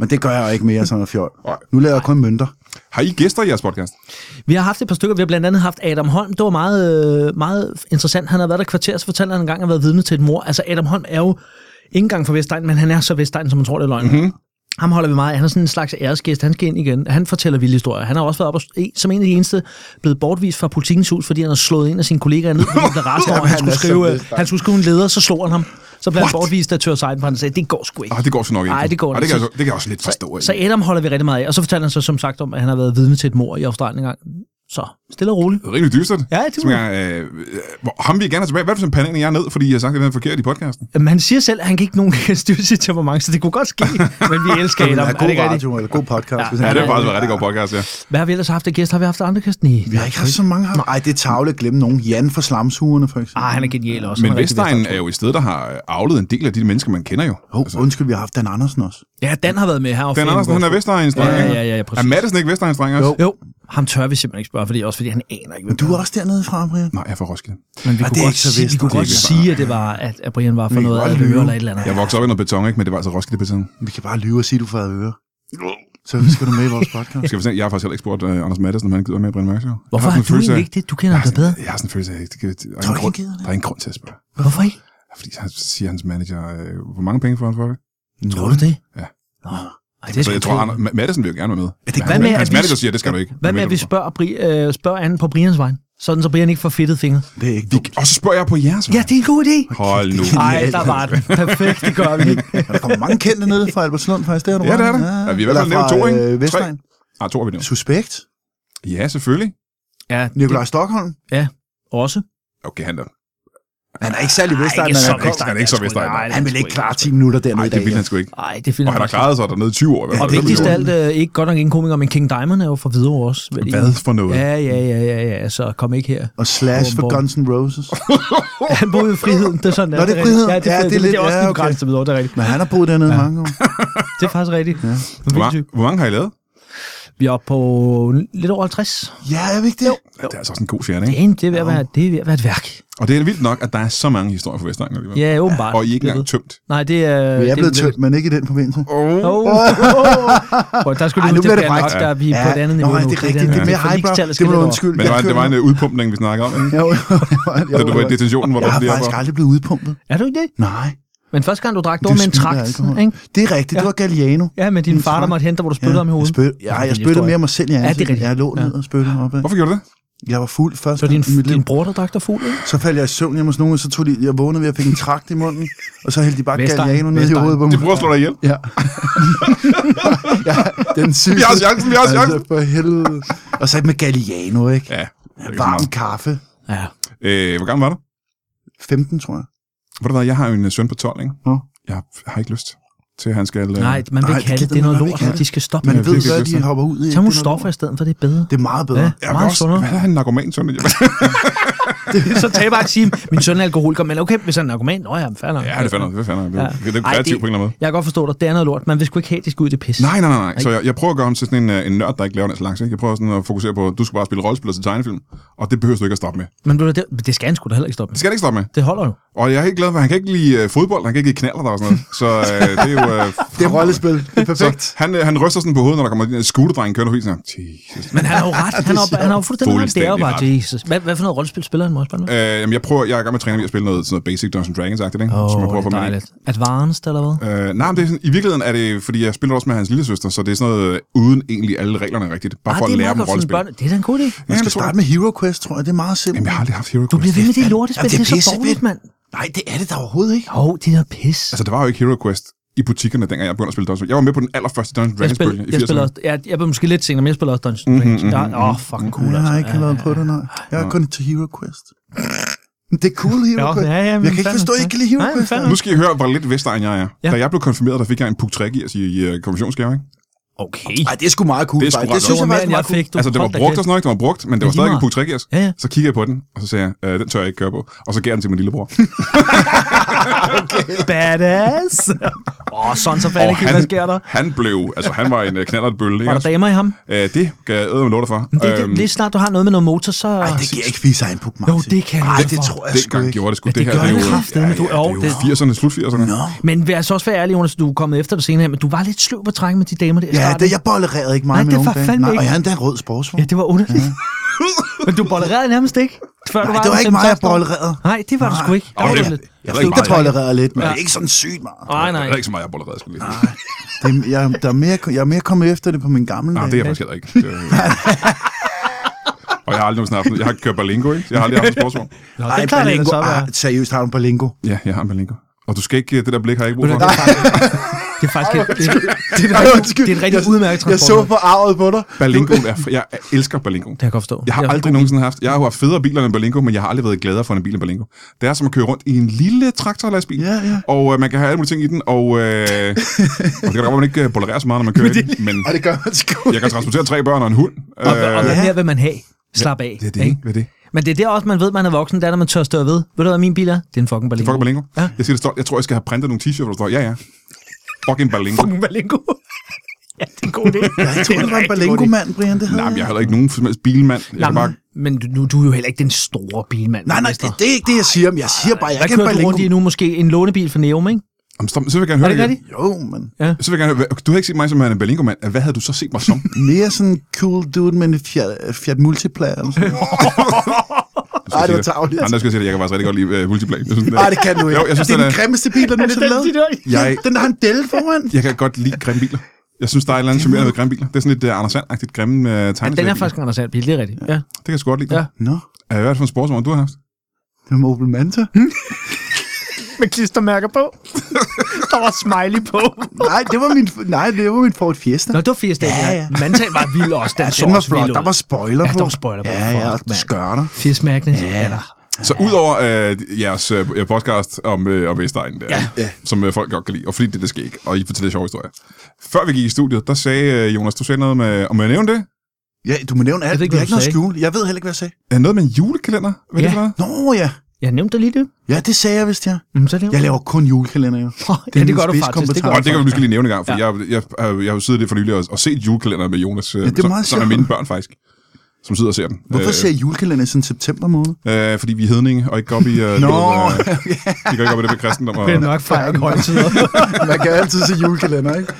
Speaker 3: Men det gør jeg jo ikke mere, sådan noget fjol.
Speaker 1: Nej.
Speaker 3: Nu laver jeg kun mønter.
Speaker 1: Har I gæster i jeres podcast?
Speaker 2: Vi har haft et par stykker. Vi har blandt andet haft Adam Holm. Det var meget, øh, meget interessant. Han har været der i kvarter, så fortalte han engang, at han har været vidne til et mor. Altså, Adam Holm er jo ikke engang fra Vestegn, men han er så Vestegn, som man tror, det er løgn.
Speaker 3: Mhm.
Speaker 2: Mm-hmm. Ham holder vi meget af. Han er sådan en slags æresgæst. Han skal ind igen. Han fortæller vilde historier. Han har også været op og, som en af de eneste blevet bortvist fra politikens hus, fordi han har slået en af sine kollegaer
Speaker 3: *laughs*
Speaker 2: ned, fordi han blev rasende over, at han,
Speaker 3: Jamen, han
Speaker 2: skulle
Speaker 3: er så
Speaker 2: skrive, øh,
Speaker 3: Vestegn.
Speaker 2: han skulle skrive en leder, så slog han ham. Så blev han
Speaker 1: What?
Speaker 2: bortvist af Tør Seidenbrand og sagde, det går sgu ikke.
Speaker 1: Ah, det går så nok ikke.
Speaker 2: Nej, det går
Speaker 1: Ej, det,
Speaker 2: ikke.
Speaker 1: kan jeg, så- det kan jeg også lidt forstå.
Speaker 2: Så
Speaker 1: ikke?
Speaker 2: Adam holder vi rigtig meget af, og så fortalte han så som sagt om, at han har været vidne til et mor i Australien engang. Så stille og roligt.
Speaker 1: Rimelig dystert.
Speaker 2: Ja, det
Speaker 1: Som
Speaker 2: må-
Speaker 1: jeg, øh, hvor- ham vil jeg gerne have tilbage. Hvad er det for en panik, jeg er ned, fordi jeg har sagt, at den er forkert i podcasten?
Speaker 2: Men han siger selv, at han kan ikke nogen styre sit temperament, så det kunne godt ske, *laughs* men vi elsker
Speaker 3: Det
Speaker 2: Adam.
Speaker 3: er
Speaker 2: Er det
Speaker 3: god
Speaker 2: ikke rigtigt?
Speaker 3: radio, eller god podcast. hvis
Speaker 1: Ja,
Speaker 3: han-
Speaker 1: det er faktisk en rigtig god podcast, ja.
Speaker 2: Hvad har vi ellers haft af gæster? Har vi haft andre gæster? Nej.
Speaker 3: Vi har ikke haft så mange her. Nej, det er tavle at glemme nogen. Jan fra Slamsugerne, for eksempel.
Speaker 2: Ah, han er genial også.
Speaker 1: Men
Speaker 2: Han er rigtig
Speaker 1: Vestegn er jo et sted, der har afledt en del af de mennesker, man kender jo.
Speaker 3: Hov, undskyld, vi har haft Dan Andersen også.
Speaker 2: Vestegn. Ja, Dan har været med her. og
Speaker 1: Dan
Speaker 2: fanden
Speaker 1: Andersen,
Speaker 2: god.
Speaker 1: han er Vestegns dreng.
Speaker 2: Ja,
Speaker 1: ikke?
Speaker 2: ja, ja, ja, præcis.
Speaker 1: Er Madsen ikke Vestegns dreng også?
Speaker 3: Jo.
Speaker 2: Jo, ham tør vi simpelthen ikke spørge, fordi, også fordi han aner ikke, hvad
Speaker 3: Du er også dernede fra, Brian.
Speaker 1: Nej, jeg er fra Roskilde.
Speaker 2: Men vi kunne
Speaker 3: Ah, det er
Speaker 2: godt,
Speaker 3: ikke så
Speaker 2: sige, vi
Speaker 3: vist,
Speaker 2: kunne
Speaker 3: det er
Speaker 2: godt
Speaker 3: ikke
Speaker 2: sige, at det var, at, at Brian var for
Speaker 3: Vi kan
Speaker 2: noget
Speaker 3: godt
Speaker 2: af
Speaker 3: lyve.
Speaker 2: eller et eller andet.
Speaker 1: Jeg voksede op i noget beton, ikke? men det var altså Roskilde beton.
Speaker 3: Vi kan bare lyve og sige, du får øre. Så skal du med i vores podcast.
Speaker 1: Skal vi se, jeg har faktisk heller ikke spurgt uh, Anders Madsen, om han gider med at brænde mørk.
Speaker 2: Hvorfor har du egentlig ikke det? Du kender ham da bedre.
Speaker 1: Jeg har sådan en følelse af, at det kan- der, er
Speaker 3: *laughs* Tror
Speaker 1: en
Speaker 3: du,
Speaker 1: grund,
Speaker 3: han gider det?
Speaker 1: der er en grund til at spørge.
Speaker 2: Hvorfor ikke?
Speaker 1: Fordi han siger hans manager, øh, hvor mange penge får han for det?
Speaker 2: Tror du det?
Speaker 1: Ja.
Speaker 2: Nå, Ej, det
Speaker 1: Så
Speaker 2: er sgu
Speaker 1: jeg tror,
Speaker 2: klogt.
Speaker 1: Anders, Madsen vil jo gerne være med.
Speaker 3: det
Speaker 1: Men
Speaker 2: Hvad
Speaker 1: han-
Speaker 2: med, at
Speaker 1: Hans
Speaker 2: vi-
Speaker 1: manager siger, det skal du ikke.
Speaker 2: Hvad med, at vi spørger, Bri, øh, spørger Anne på Brians vej? Sådan, så Brian ikke får fedtet fingre.
Speaker 3: Det er ikke dumt.
Speaker 1: Og så spørger jeg på jeres vej.
Speaker 2: Ja, det er en god idé.
Speaker 1: Hold
Speaker 2: *laughs*
Speaker 1: nu.
Speaker 2: Nej, der var den. Perfekt, det gør vi.
Speaker 3: Der kommer mange kendte nede fra Albertslund, faktisk. Det er du
Speaker 1: Ja,
Speaker 3: ret i.
Speaker 1: det er der. Ja, vi har i hvert fald
Speaker 3: Eller
Speaker 1: nævnt
Speaker 3: fra,
Speaker 1: to, ikke?
Speaker 3: øh, Vestegn.
Speaker 1: Ah, to er vi nu.
Speaker 3: Suspekt.
Speaker 1: Ja, selvfølgelig.
Speaker 2: Ja,
Speaker 3: Nikolaj Stockholm.
Speaker 2: Også.
Speaker 1: Okay, han der.
Speaker 3: Han er ikke særlig Vestegn,
Speaker 2: ikke
Speaker 3: men
Speaker 2: så
Speaker 3: han,
Speaker 1: Vestegn.
Speaker 3: kom,
Speaker 1: Han er ikke så Vestegn, nej.
Speaker 3: han ville ikke klare 10 minutter dernede
Speaker 1: Nej,
Speaker 3: i
Speaker 1: det
Speaker 3: dag.
Speaker 1: ville han sgu ikke.
Speaker 2: Nej, det finder
Speaker 1: Og han har klaret sig dernede i 20 år. i hvert
Speaker 2: Og
Speaker 1: fald.
Speaker 2: vigtigst af alt, øh, ikke godt nok ingen komiker, men King Diamond er jo fra Hvidovre også. vel?
Speaker 1: Hvad for noget?
Speaker 2: Ja, ja, ja, ja, ja, så kom ikke her.
Speaker 3: Og Slash for
Speaker 2: Åbenbart.
Speaker 3: Guns N' Roses.
Speaker 2: Han boede i friheden, det er sådan.
Speaker 3: Nå, det er
Speaker 2: rigtigt.
Speaker 3: friheden.
Speaker 2: Ja, det er, ja, det er, lidt, det er også
Speaker 3: ja,
Speaker 2: ja,
Speaker 3: okay.
Speaker 2: okay. grænse til Hvidovre, det er rigtigt.
Speaker 3: Men han har boet dernede ja. mange år.
Speaker 2: Det er faktisk rigtigt. Ja.
Speaker 1: Hvor, mange, hvor mange har I lavet?
Speaker 2: Vi er oppe på lidt over 50.
Speaker 3: Ja, er vi ikke det?
Speaker 1: Ja, det er altså også en god fjerne, ikke?
Speaker 2: Det er, det er ved at være, det er ved at være et værk.
Speaker 1: Og det er vildt nok, at der er så mange historier fra Vestegn alligevel.
Speaker 2: Ja, åbenbart.
Speaker 1: Og I er ikke
Speaker 2: Jeg
Speaker 1: engang
Speaker 2: ved.
Speaker 1: tømt.
Speaker 2: Nej, det er...
Speaker 3: Vi er
Speaker 2: det
Speaker 3: blevet tømt, men ikke i den forbindelse.
Speaker 1: Oh.
Speaker 2: Åh, oh, oh, oh. Der skulle
Speaker 3: Ej,
Speaker 2: du
Speaker 3: nu
Speaker 2: huske,
Speaker 3: bliver
Speaker 2: at
Speaker 3: det
Speaker 2: det er nok,
Speaker 3: frækt.
Speaker 2: der er vi på et andet niveau
Speaker 3: Nå,
Speaker 2: nu.
Speaker 3: det er rigtigt. Det er mere highbrow.
Speaker 2: forligstallet
Speaker 3: Det
Speaker 2: skal
Speaker 3: må du
Speaker 2: lidt over.
Speaker 3: undskylde.
Speaker 1: Men det var, det var en øh, udpumpning, vi snakker om. ikke?
Speaker 3: Jo, jo, jo,
Speaker 1: Da du var i
Speaker 3: jo, jo.
Speaker 1: detentionen, hvor du
Speaker 3: Jeg har
Speaker 1: lige
Speaker 3: faktisk aldrig blevet udpumpet.
Speaker 2: Er du ikke det?
Speaker 3: Nej.
Speaker 2: Men første gang, du drak, du
Speaker 3: det
Speaker 2: var med en
Speaker 3: smager
Speaker 2: trakt,
Speaker 3: alkohol.
Speaker 2: ikke?
Speaker 3: Det er rigtigt. Det var Galliano.
Speaker 2: Ja, men din
Speaker 3: En
Speaker 2: far, der
Speaker 3: tragt.
Speaker 2: måtte hente dig, hvor du spyttede ham i
Speaker 3: jeg
Speaker 2: hovedet.
Speaker 3: spyt- ja, jeg spyttede mere mig selv i
Speaker 2: det er
Speaker 3: ansigtet.
Speaker 2: rigtigt.
Speaker 3: jeg lå ned og spyttede op.
Speaker 1: Hvorfor gjorde du det?
Speaker 3: Jeg var fuld først.
Speaker 2: Så din,
Speaker 3: i mit liv.
Speaker 2: din bror, der drak dig fuld, ikke?
Speaker 3: Så faldt jeg i søvn hjemme hos nogen, og så tog de, jeg vågnede ved, at jeg fik en trakt i munden, og så hældte de bare
Speaker 2: Vestegn.
Speaker 3: Galliano ned i
Speaker 2: Vestegn.
Speaker 3: hovedet på
Speaker 1: De
Speaker 3: mig.
Speaker 1: prøver at slå dig ihjel.
Speaker 3: Ja. ja, den sygeste.
Speaker 1: Vi har chancen, vi har
Speaker 2: Altså-
Speaker 1: chancen.
Speaker 3: for helvede. Og så med Galliano, ikke?
Speaker 1: Ja. det er ikke så
Speaker 3: Varm
Speaker 1: meget.
Speaker 3: kaffe.
Speaker 2: Ja.
Speaker 1: Øh, hvor gammel var du?
Speaker 3: 15, tror jeg.
Speaker 1: Ved du hvad, jeg har jo en øh, søn på 12, ikke?
Speaker 3: Nå.
Speaker 1: Jeg har ikke lyst til, at han skal... øh,
Speaker 2: Nej, man vil ikke
Speaker 3: Nej, det
Speaker 2: have det.
Speaker 3: gider
Speaker 2: Det er noget
Speaker 3: man
Speaker 2: lort,
Speaker 3: ikke
Speaker 2: og de skal stoppe
Speaker 3: Man
Speaker 2: med
Speaker 1: Ja,
Speaker 2: det.
Speaker 3: ved,
Speaker 1: det kan
Speaker 3: hvad
Speaker 1: jeg
Speaker 3: de
Speaker 1: godt se.
Speaker 3: hopper ud i.
Speaker 2: Tag
Speaker 3: ikke?
Speaker 2: nogle
Speaker 3: Det er
Speaker 2: stoffer i stedet for, det er bedre.
Speaker 3: noget- Det er meget bedre.
Speaker 2: Ja,
Speaker 1: Jeg vil
Speaker 2: meget
Speaker 1: også,
Speaker 2: sundere.
Speaker 1: hvad er han narkoman,
Speaker 2: *laughs*
Speaker 1: søn? Jeg-
Speaker 2: Så tag bare et time. Min søn er alkoholiker, men okay, hvis han er narkoman, nå ja, men fair nok.
Speaker 1: ja, det fandt jeg. Det fandt jeg. Det er- det er
Speaker 2: Ej,
Speaker 1: kreativt på en eller anden måde.
Speaker 2: Jeg kan godt forstå dig, det er noget lort. Man vil sgu ikke have, at de skal ud til pis.
Speaker 1: Nej, nej, nej, nej. Så jeg, jeg prøver at gøre ham til sådan en, øh, en nørd, der ikke laver den slags. Ikke? Jeg prøver sådan at fokusere på, at du skal bare spille rollespil og se tegnefilm, og det behøver du ikke at stoppe med.
Speaker 2: Men ved du, det, det skal han sgu da heller ikke stoppe.
Speaker 1: Det
Speaker 2: med.
Speaker 1: skal han ikke stoppe med.
Speaker 2: Det holder jo.
Speaker 1: Og jeg er helt glad for, at han kan ikke lide øh, fodbold, han kan ikke lide knaller der og sådan noget. Så øh, det er jo... Øh,
Speaker 3: *laughs* Det er rollespil. Det er perfekt.
Speaker 1: Så han, øh, han ryster sådan på hovedet, når der kommer en scooterdreng kørende forbi, sådan, Jesus.
Speaker 2: Men han har jo ret. Han har, han har jo fuldstændig ret. Det er jo bare
Speaker 1: Fuldstændig
Speaker 2: Jesus. Hvad, hvad for noget rollespil spiller han måske? Åh,
Speaker 1: Øh, jamen, jeg, prøver, jeg er i gang med at træne, at jeg spiller noget, sådan noget basic Dungeons Dragons-agtigt, ikke? Som jeg prøver at få
Speaker 2: det er
Speaker 1: med ind.
Speaker 2: dejligt. Advanced eller hvad?
Speaker 1: Øh, nej, men det er sådan, i virkeligheden er det, fordi jeg spiller også med hans lille søster, så det er sådan noget øh, uden egentlig alle reglerne rigtigt. Bare
Speaker 2: Ah,
Speaker 1: for
Speaker 2: det
Speaker 1: at
Speaker 2: er
Speaker 1: lære
Speaker 2: meget
Speaker 1: dem
Speaker 2: godt for sådan
Speaker 1: rollespil.
Speaker 2: børn. Det er da en god idé.
Speaker 1: Ja,
Speaker 3: Man skal
Speaker 1: det tror
Speaker 3: starte
Speaker 1: jeg.
Speaker 3: med Hero Quest, tror jeg. Det er meget simpelt.
Speaker 1: Jamen, jeg har aldrig haft Hero
Speaker 2: Du bliver
Speaker 1: Quest.
Speaker 2: ved med det lortespil,
Speaker 3: Jamen,
Speaker 2: det
Speaker 3: det
Speaker 2: er så
Speaker 3: er pissefedt.
Speaker 2: dårligt, mand.
Speaker 3: Nej, det er det da overhovedet ikke.
Speaker 2: Åh, det er noget pis.
Speaker 1: Altså, der var jo ikke Hero Quest i butikkerne, dengang jeg begyndte at spille Dungeons Dragons. Jeg var med på den allerførste Dungeons
Speaker 2: Jeg
Speaker 1: Dragons bølge
Speaker 2: spiller,
Speaker 1: i Mhm,
Speaker 2: jeg
Speaker 1: 80'erne.
Speaker 2: spiller også, jeg, jeg blev måske lidt senere, men jeg spiller også Dungeons and Dragons. Der- Åh, fucking cool,
Speaker 3: Jeg
Speaker 2: altså.
Speaker 3: har ikke været på det, nej. Jeg er kun til Hero Quest. Men Det er cool, Hero
Speaker 2: Ja,
Speaker 3: Quest.
Speaker 2: ja, ja, men
Speaker 3: jeg kan ikke
Speaker 2: fandme,
Speaker 3: forstå, at I
Speaker 2: ja.
Speaker 3: ikke kan lide Hero
Speaker 2: Nej, men
Speaker 3: Quest. altså.
Speaker 2: fandme.
Speaker 1: Nu skal I høre, hvor lidt Vestegn jeg er.
Speaker 2: Ja.
Speaker 1: Da jeg blev konfirmeret, der fik jeg en puk i, altså i øh, konfirmationsgave. Ikke?
Speaker 2: Okay.
Speaker 3: Nej, det er sgu meget cool,
Speaker 1: Det er sgu
Speaker 3: faktisk.
Speaker 1: ret
Speaker 3: Det synes
Speaker 2: Det
Speaker 3: jeg
Speaker 2: var mere, end
Speaker 3: faktisk
Speaker 2: jeg
Speaker 3: er meget cool.
Speaker 2: fik. Du.
Speaker 1: altså, det var
Speaker 2: Hold da
Speaker 1: brugt og
Speaker 2: kæft.
Speaker 1: sådan noget, ikke? det var brugt, men det
Speaker 2: Ja,
Speaker 1: var
Speaker 2: lige
Speaker 1: stadig en
Speaker 2: meget.
Speaker 1: puk
Speaker 2: Ja, ja.
Speaker 1: Så kiggede jeg på den, og så sagde jeg, øh, den tør jeg ikke køre på. Og så gav jeg den til min
Speaker 2: *laughs*
Speaker 1: lillebror.
Speaker 2: Badass. Åh, sådan så fandt ikke, hvad sker der?
Speaker 1: han blev, altså han var en øh, knallertbølle.
Speaker 2: Var
Speaker 1: Ikke?
Speaker 2: der damer i ham?
Speaker 1: Øh, det kan jeg æde med låter for. Øhm,
Speaker 2: Men Det, det, lige snart du har noget med noget motor, så...
Speaker 3: Ej, det giver ikke vise en puk, Martin.
Speaker 2: Jo, det kan
Speaker 3: Ej,
Speaker 2: det
Speaker 3: det
Speaker 2: for.
Speaker 3: tror jeg sgu
Speaker 1: Dengang
Speaker 3: ikke.
Speaker 1: gjorde det sgu.
Speaker 2: Ja, det
Speaker 1: her
Speaker 2: gør
Speaker 1: er
Speaker 2: det
Speaker 1: jo-
Speaker 2: kraftedeme. Du-
Speaker 1: ja, ja,
Speaker 2: jo,
Speaker 1: det er
Speaker 2: det-
Speaker 1: jo 80'erne, slut 80'erne.
Speaker 3: Nå.
Speaker 2: Men vær altså også være ærlig, Jonas, du er kommet efter det senere, men du var lidt sløv på trækken med de damer der i
Speaker 3: Ja,
Speaker 2: starten.
Speaker 3: det, jeg bollerede ikke meget
Speaker 2: Nej,
Speaker 3: med
Speaker 2: det var
Speaker 3: nogen dage.
Speaker 2: fandme
Speaker 3: Nej,
Speaker 2: ikke-
Speaker 3: og jeg er endda en rød sportsvogn.
Speaker 2: Ja, det var underligt. *laughs* men du bollerede nærmest ikke, før du
Speaker 3: Nej,
Speaker 2: var...
Speaker 3: det var ikke
Speaker 2: 15,
Speaker 3: mig, jeg
Speaker 2: 16 år.
Speaker 3: bollerede.
Speaker 2: Nej, det var du sgu ikke. Der
Speaker 1: Og
Speaker 2: var
Speaker 1: det-
Speaker 2: du lidt.
Speaker 3: Jeg
Speaker 1: var
Speaker 3: fik
Speaker 1: ikke
Speaker 3: da
Speaker 1: mig.
Speaker 3: bollerede lidt, men
Speaker 2: Ja.
Speaker 3: det er ikke sådan sygt meget. *laughs*
Speaker 2: Nej, nej.
Speaker 1: Der er ikke så meget, jeg bollerede, skulle lige.
Speaker 3: Det, jeg, der er mere, jeg er mere kommet efter det på min gamle
Speaker 1: Nej,
Speaker 3: dage.
Speaker 1: det er jeg faktisk heller ikke. Det er- Og jeg har aldrig nogensinde haft noget. Jeg har kørt Berlingo, ikke? Jeg har aldrig haft en sportsvogn.
Speaker 2: Nå, det klarer det ikke så være.
Speaker 3: Ej, seriøst, har du en Berlingo?
Speaker 1: Ja, jeg har en Berlingo. Og du skal ikke, det der blik har jeg ikke brug
Speaker 2: Ved du
Speaker 1: for.
Speaker 2: hvad, Det er faktisk- det er faktisk et, det, det,
Speaker 3: *laughs*
Speaker 2: er et rigtig, det er et rigtig udmærket
Speaker 3: Jeg så
Speaker 2: transport.
Speaker 3: på arvet på dig.
Speaker 1: Berlingo er, fr- jeg elsker Berlingo.
Speaker 2: Det kan jeg godt forstå.
Speaker 1: Jeg har
Speaker 2: Det er
Speaker 1: aldrig nogensinde haft, jeg har jo haft federe biler end Berlingo, men jeg har aldrig været gladere for en bil end Berlingo. Det er som at køre rundt i en lille traktorlastbil,
Speaker 3: Ja, ja.
Speaker 1: og øh, man kan have alle mulige ting i den, og, øh, og det kan da godt, at man ikke øh, bolererer så meget, når man kører i den, men
Speaker 3: Og det gør man sgu.
Speaker 1: jeg kan transportere tre børn og en hund. Øh,
Speaker 2: Og, og hvad
Speaker 3: Ja.
Speaker 2: mere vil man have? Slap af.
Speaker 1: det er det, ikke? Hvad er det?
Speaker 2: Men det er der også, man ved, man er voksen, der er, når man tør stå ved. Ved du, hvad min bil er? Det er en fucking Berlingo.
Speaker 1: Fucking Berlingo.
Speaker 2: Ja.
Speaker 1: Jeg siger det stolt. Jeg tror, jeg skal have printet nogle t-shirts, hvor der står, ja, ja. Fucking Berlingo.
Speaker 2: Fucking Berlingo. *laughs* ja, det er en god idé.
Speaker 3: Jeg troede, du var en *laughs* Berlingo-mand, Brian. Det havde
Speaker 1: Nej, men jeg er heller ikke nogen som helst bilmand. Jeg
Speaker 2: Nej,
Speaker 1: kan bare...
Speaker 2: men, men du, du er jo heller ikke den store bilmand.
Speaker 3: Nej, nej,
Speaker 2: Mester.
Speaker 3: det, det er ikke det, jeg siger. Men jeg siger bare, jeg
Speaker 2: Hvad
Speaker 3: kan
Speaker 2: kører du
Speaker 3: Berlingo.
Speaker 2: rundt i nu? Måske en lånebil for Neum, ikke?
Speaker 1: Jamen, stop. Så vil jeg gerne høre
Speaker 2: Er det
Speaker 1: igen.
Speaker 2: rigtigt?
Speaker 3: Jo, men
Speaker 1: Så vil jeg gerne høre, hvad- du har ikke set mig som en Berlingo-mand. Hvad havde du så set mig som?
Speaker 3: mere sådan cool dude med en Fiat, Fiat Multipla. Eller sådan. noget. Ej, det var tarveligt.
Speaker 1: Andre skal jeg sige det. Jeg kan faktisk rigtig godt lide uh, multiplayer. Jeg synes,
Speaker 3: Nej, det kan du ikke.
Speaker 1: Jo, jeg synes,
Speaker 3: det er
Speaker 1: den
Speaker 3: den
Speaker 1: er-
Speaker 3: grimmeste bil, der nogensinde er lavet.
Speaker 1: Jeg-
Speaker 3: Den der har en del foran.
Speaker 1: Jeg kan godt lide grimme biler. Jeg synes, der er et eller andet charmerende ved grimme biler. Det er sådan lidt uh, Anders Sand-agtigt grimme uh,
Speaker 2: Ja,
Speaker 1: tegneserie.
Speaker 2: den er faktisk en Anders Sand bil, det er rigtigt. Ja.
Speaker 1: Det kan jeg sgu godt lide. Ja.
Speaker 2: Ja.
Speaker 3: Nå,
Speaker 1: Uh, hvad er det for en sportsvogn, du har haft?
Speaker 3: det var Opel Manta.
Speaker 2: Med klistermærker på. *laughs* der var smiley på.
Speaker 3: Nej, det var min, nej, det var min Ford Fiesta.
Speaker 2: Nå, det var Fiesta.
Speaker 3: Ja,
Speaker 2: Ja,
Speaker 3: ja.
Speaker 2: ja. Mantal var vild også. Den,
Speaker 3: Ja,
Speaker 2: så
Speaker 3: den var
Speaker 2: også
Speaker 3: flot.
Speaker 2: vild ud.
Speaker 3: Der var spoiler
Speaker 2: Ja,
Speaker 3: på.
Speaker 2: der var spoiler på.
Speaker 3: Ja, ja, og
Speaker 2: Fuck, mand.
Speaker 3: skørter.
Speaker 2: Fisk Magnet.
Speaker 3: Ja.
Speaker 2: Ja.
Speaker 1: Så udover øh, jeres øh, podcast om, øh, om Vestegnen, der,
Speaker 3: Ja.
Speaker 1: som øh, folk godt kan lide, og fordi det, det skal ikke, og I fortæller sjove historier. Før vi gik i studiet, der sagde øh, Jonas, du sagde noget med, om jeg nævnte det?
Speaker 3: Ja, du må nævne alt.
Speaker 2: ved ikke,
Speaker 3: vi
Speaker 2: hvad du
Speaker 3: har ikke noget
Speaker 2: sagde.
Speaker 3: skjul. Jeg ved heller ikke, hvad jeg sagde.
Speaker 1: Er noget med en julekalender? Hvad ja. er
Speaker 2: Ja.
Speaker 1: det for noget?
Speaker 3: Nå ja.
Speaker 2: Jeg nævnte lige det.
Speaker 3: Ja, det sagde jeg vist, ja.
Speaker 2: Mm, så det
Speaker 3: Jeg laver kun julekalender, jo.
Speaker 2: ja, det
Speaker 3: min
Speaker 2: gør du faktisk.
Speaker 3: spidskompetence.
Speaker 2: Det gør
Speaker 1: Og
Speaker 2: du
Speaker 1: det kan vi
Speaker 2: faktisk.
Speaker 1: måske lige nævne en gang, for ja. jeg, jeg, jeg, øh, jeg har jo siddet det for nylig og, og set julekalender med Jonas, ja,
Speaker 3: det er meget
Speaker 1: som er
Speaker 3: sjovt.
Speaker 1: mine børn faktisk, som sidder og ser den.
Speaker 3: Hvorfor ser jeg julekalender i sådan september måned?
Speaker 1: øh, øh, fordi vi er hedninge, og ikke går op i, øh, du
Speaker 3: Nå,
Speaker 1: ved, øh, vi går ikke op i det med kristendom. Og,
Speaker 2: Det er nok fejl i
Speaker 3: *laughs*
Speaker 2: højtider.
Speaker 3: Man kan altid se julekalender, ikke?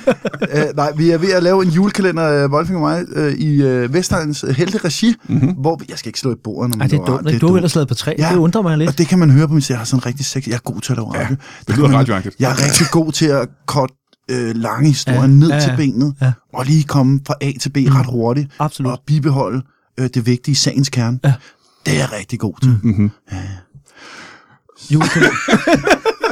Speaker 3: Uh, nej, vi er ved at lave en julekalender, uh, Wolfing og mig, uh, i uh, Vestegns uh, helte regi, mm-hmm. hvor vi, jeg skal ikke slå i bordet, når man
Speaker 2: Mhm. Ej, det er
Speaker 3: laver radio.
Speaker 2: dumt, ikke? Du har ellers lavet på tre.
Speaker 3: Ja.
Speaker 2: Det undrer mig lidt.
Speaker 3: Og det kan man høre på min Jeg har sådan rigtig sex. Jeg er god til at lave radio. Ja,
Speaker 1: lyder radioagtigt.
Speaker 3: Jeg er rigtig god til at kort øh, lange historier ja, ned ja,
Speaker 2: ja,
Speaker 3: til
Speaker 2: ja.
Speaker 3: benet, ja.
Speaker 2: Ja. Mm.
Speaker 3: og lige komme fra A til B ret hurtigt,
Speaker 2: Absolut.
Speaker 3: og bibeholde øh, det vigtige i sagens kerne. Ja. Det er jeg rigtig god til. Mm.
Speaker 2: Mm-hmm. Julekalender.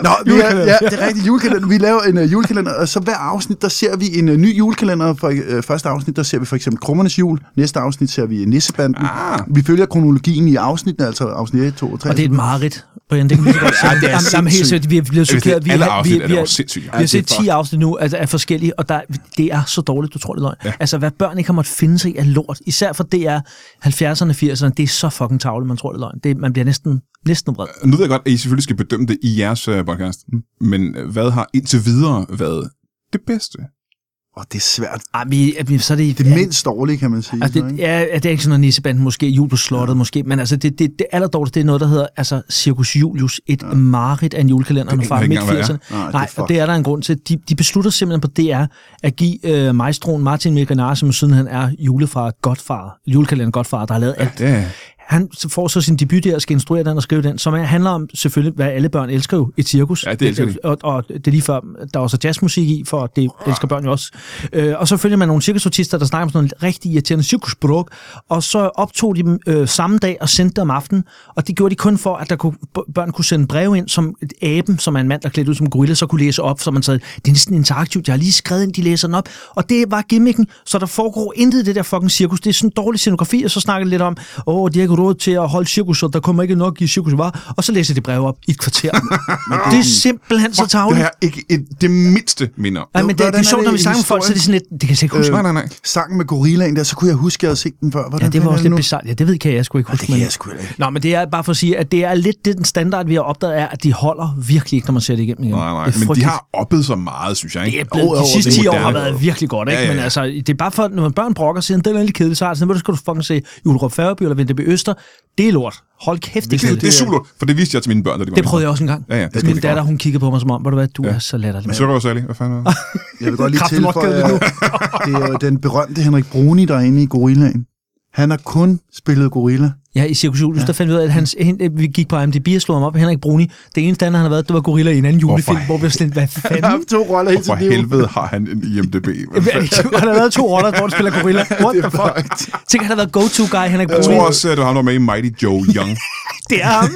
Speaker 3: Nå, vi er, ja, det er rigtigt, julekalender. Vi laver en uh, julekalender, og så hver afsnit, der ser vi en uh, ny julekalender. For uh, første afsnit, der ser vi for eksempel Krummernes Jul. Næste afsnit ser vi Nissebanden. Ah. Vi følger kronologien i afsnittene, altså afsnit 1, 2 og 3.
Speaker 2: Og det er et mareridt, Brian. Det kan vi lige så
Speaker 1: *laughs*
Speaker 2: godt sige.
Speaker 1: det er
Speaker 2: Jamen, jamen, helt
Speaker 1: sindssygt.
Speaker 2: seriøst, vi er blevet
Speaker 1: Hvis det er
Speaker 2: chokeret. Vi,
Speaker 1: alle
Speaker 2: har- vi,
Speaker 1: afsnit, er
Speaker 2: vi,
Speaker 1: det jo
Speaker 2: har-
Speaker 1: sindssygt.
Speaker 2: vi har
Speaker 3: det er
Speaker 2: set 10 afsnit nu altså, af forskellige, og der, det er så dårligt, du tror det er løgn. Ja. Altså, hvad børn ikke har måttet finde sig i af lort, især for DR 70'erne og 80'erne, det er så fucking tavle, man tror det er løgn. Det, man bliver næsten, næsten vred.
Speaker 1: Nu ved jeg godt, at I selvfølgelig skal bedømme det i jeres øh, podcast, men øh, hvad har indtil videre været det bedste?
Speaker 3: Og det er svært.
Speaker 2: Ej, vi, vi, så er det,
Speaker 3: Det er mindst dårlige, kan man sige.
Speaker 2: Altså,
Speaker 3: så,
Speaker 2: det,
Speaker 3: ikke?
Speaker 2: ja, ja, det er ikke sådan noget nisseband, måske jul på slottet, ja. måske, men altså, det, det, det allerdårligste, det er noget, der hedder altså, Circus Julius, et ja. mareridt af en julekalender
Speaker 1: Det
Speaker 2: fra
Speaker 1: aner jeg
Speaker 2: midt
Speaker 1: ikke engang,
Speaker 2: 80'erne.
Speaker 3: hvad
Speaker 2: Nej,
Speaker 3: er. Nej, det er
Speaker 2: Nej,
Speaker 3: fucked.
Speaker 2: og det er der en grund til. De, de beslutter simpelthen på DR at give øh, maestroen Martin Mikanar, som sidenhen er julefar Godfar, julekalender Godfar, der har lavet alt
Speaker 1: Ja.
Speaker 2: han får så sin debut der og skal instruere den og skrive den, som er- handler om selvfølgelig, hvad alle børn elsker jo, et cirkus.
Speaker 1: Ja, det elsker de.
Speaker 2: Og, og det er lige før, der er også jazzmusik i, for det elsker børn jo også. Øh, og så følger man nogle cirkusartister, der snakker om sådan noget rigtig irriterende cirkusbrug, og så optog de dem øh, samme dag og sendte dem om aftenen, og det gjorde de kun for, at der kunne, b- børn kunne sende breve ind, som et aben, som er en mand, der er klædt ud som en gorilla, så kunne læse op, så man sagde, det er næsten interaktivt, jeg har lige skrevet ind, de læser den op. Og det var gimmicken, så der foregår intet i det der fucking cirkus. Det er sådan dårlig scenografi, og så snakker de lidt om, åh, oh, de har ikke råd til at holde cirkus, og der kommer ikke nok i cirkus var, og så læser de breve op i et kvarter. det er simpelthen så
Speaker 1: Det
Speaker 2: tavligt.
Speaker 1: har jeg ikke et, det mindste minder. om.
Speaker 2: Ej, men det, det
Speaker 3: Hvordan
Speaker 2: er
Speaker 3: er
Speaker 2: sjovt,
Speaker 3: det
Speaker 2: når vi
Speaker 3: en
Speaker 2: snakker med folk, så er det sådan lidt, det kan jeg slet ikke huske.
Speaker 1: Nej, nej, nej.
Speaker 3: Sangen med gorillaen der, så kunne jeg huske, at jeg havde set den før. Hvordan
Speaker 2: Ja, det var
Speaker 3: fanden
Speaker 2: også
Speaker 3: er
Speaker 2: lidt
Speaker 3: nu?
Speaker 2: bizarrt. Ja, det ved kan jeg sgu ikke huske.
Speaker 3: Det kan
Speaker 2: men-
Speaker 3: jeg sgu heller ikke.
Speaker 2: Nå, men det er bare for at sige, at det er lidt det, den standard, vi har opdaget, er, at de holder virkelig ikke, når man ser det igennem igen.
Speaker 1: Nej, nej.
Speaker 2: Det er
Speaker 1: Men de
Speaker 2: frygteligt.
Speaker 1: har oppet sig meget, synes jeg. Ikke?
Speaker 2: Det er blevet, de sidste
Speaker 1: det
Speaker 2: 10 år har
Speaker 1: moderne.
Speaker 2: været virkelig godt, ikke?
Speaker 1: Ja, ja, ja.
Speaker 2: Men altså, det er bare for, når børn brokker sig, den er lidt kedelig, så er det sådan, "Ved du, så skal du fucking se Julerup Færøby eller Vindeby Øster. Det er lort. Hold kæft, det er
Speaker 1: Det, det, det
Speaker 2: kedeligt.
Speaker 1: er super, for det viste jeg til mine børn, da de var
Speaker 2: Det prøvede jeg også en gang.
Speaker 1: Ja, ja, det skal
Speaker 2: Min
Speaker 1: det godt.
Speaker 2: datter, hun kiggede på mig som om, hvor du hvad, du er så latterlig.
Speaker 1: Men så var det også ærlig. Hvad
Speaker 2: *laughs*
Speaker 1: fanden var det?
Speaker 3: Jeg vil godt lige
Speaker 2: Kraften opgave
Speaker 3: tilføje, at det er jo den berømte Henrik Bruni, der er inde i gorillaen. Han har kun spillet gorilla.
Speaker 2: Ja, i Cirkus Julius, ja. der fandt vi ud af, at hans, hende, vi gik på IMDb og slog ham op. Henrik Bruni, det eneste andet, han har været, det var Gorilla i en anden julefilm,
Speaker 1: Hvorfor?
Speaker 2: hvor vi var sådan, lidt,
Speaker 1: *laughs*
Speaker 2: hvad
Speaker 3: Han har
Speaker 2: fanden?
Speaker 3: haft to roller
Speaker 2: Altså,
Speaker 3: hele
Speaker 1: For
Speaker 3: sit liv.
Speaker 1: helvede har han en
Speaker 2: *laughs*
Speaker 1: IMDB. Hvad
Speaker 2: Hvad er
Speaker 1: fanden?
Speaker 2: det? han har lavet to roller, hvor han spiller
Speaker 1: *laughs*
Speaker 2: Gorilla. What the
Speaker 3: Det er
Speaker 2: fuck?
Speaker 3: fucked.
Speaker 2: Tænk, han har været go-to-guy, Henrik
Speaker 1: Jeg
Speaker 2: Bruni.
Speaker 1: tror også, at du har noget med i Mighty Joe
Speaker 2: *laughs*
Speaker 1: Young.
Speaker 2: Det er
Speaker 1: *laughs*
Speaker 2: ham.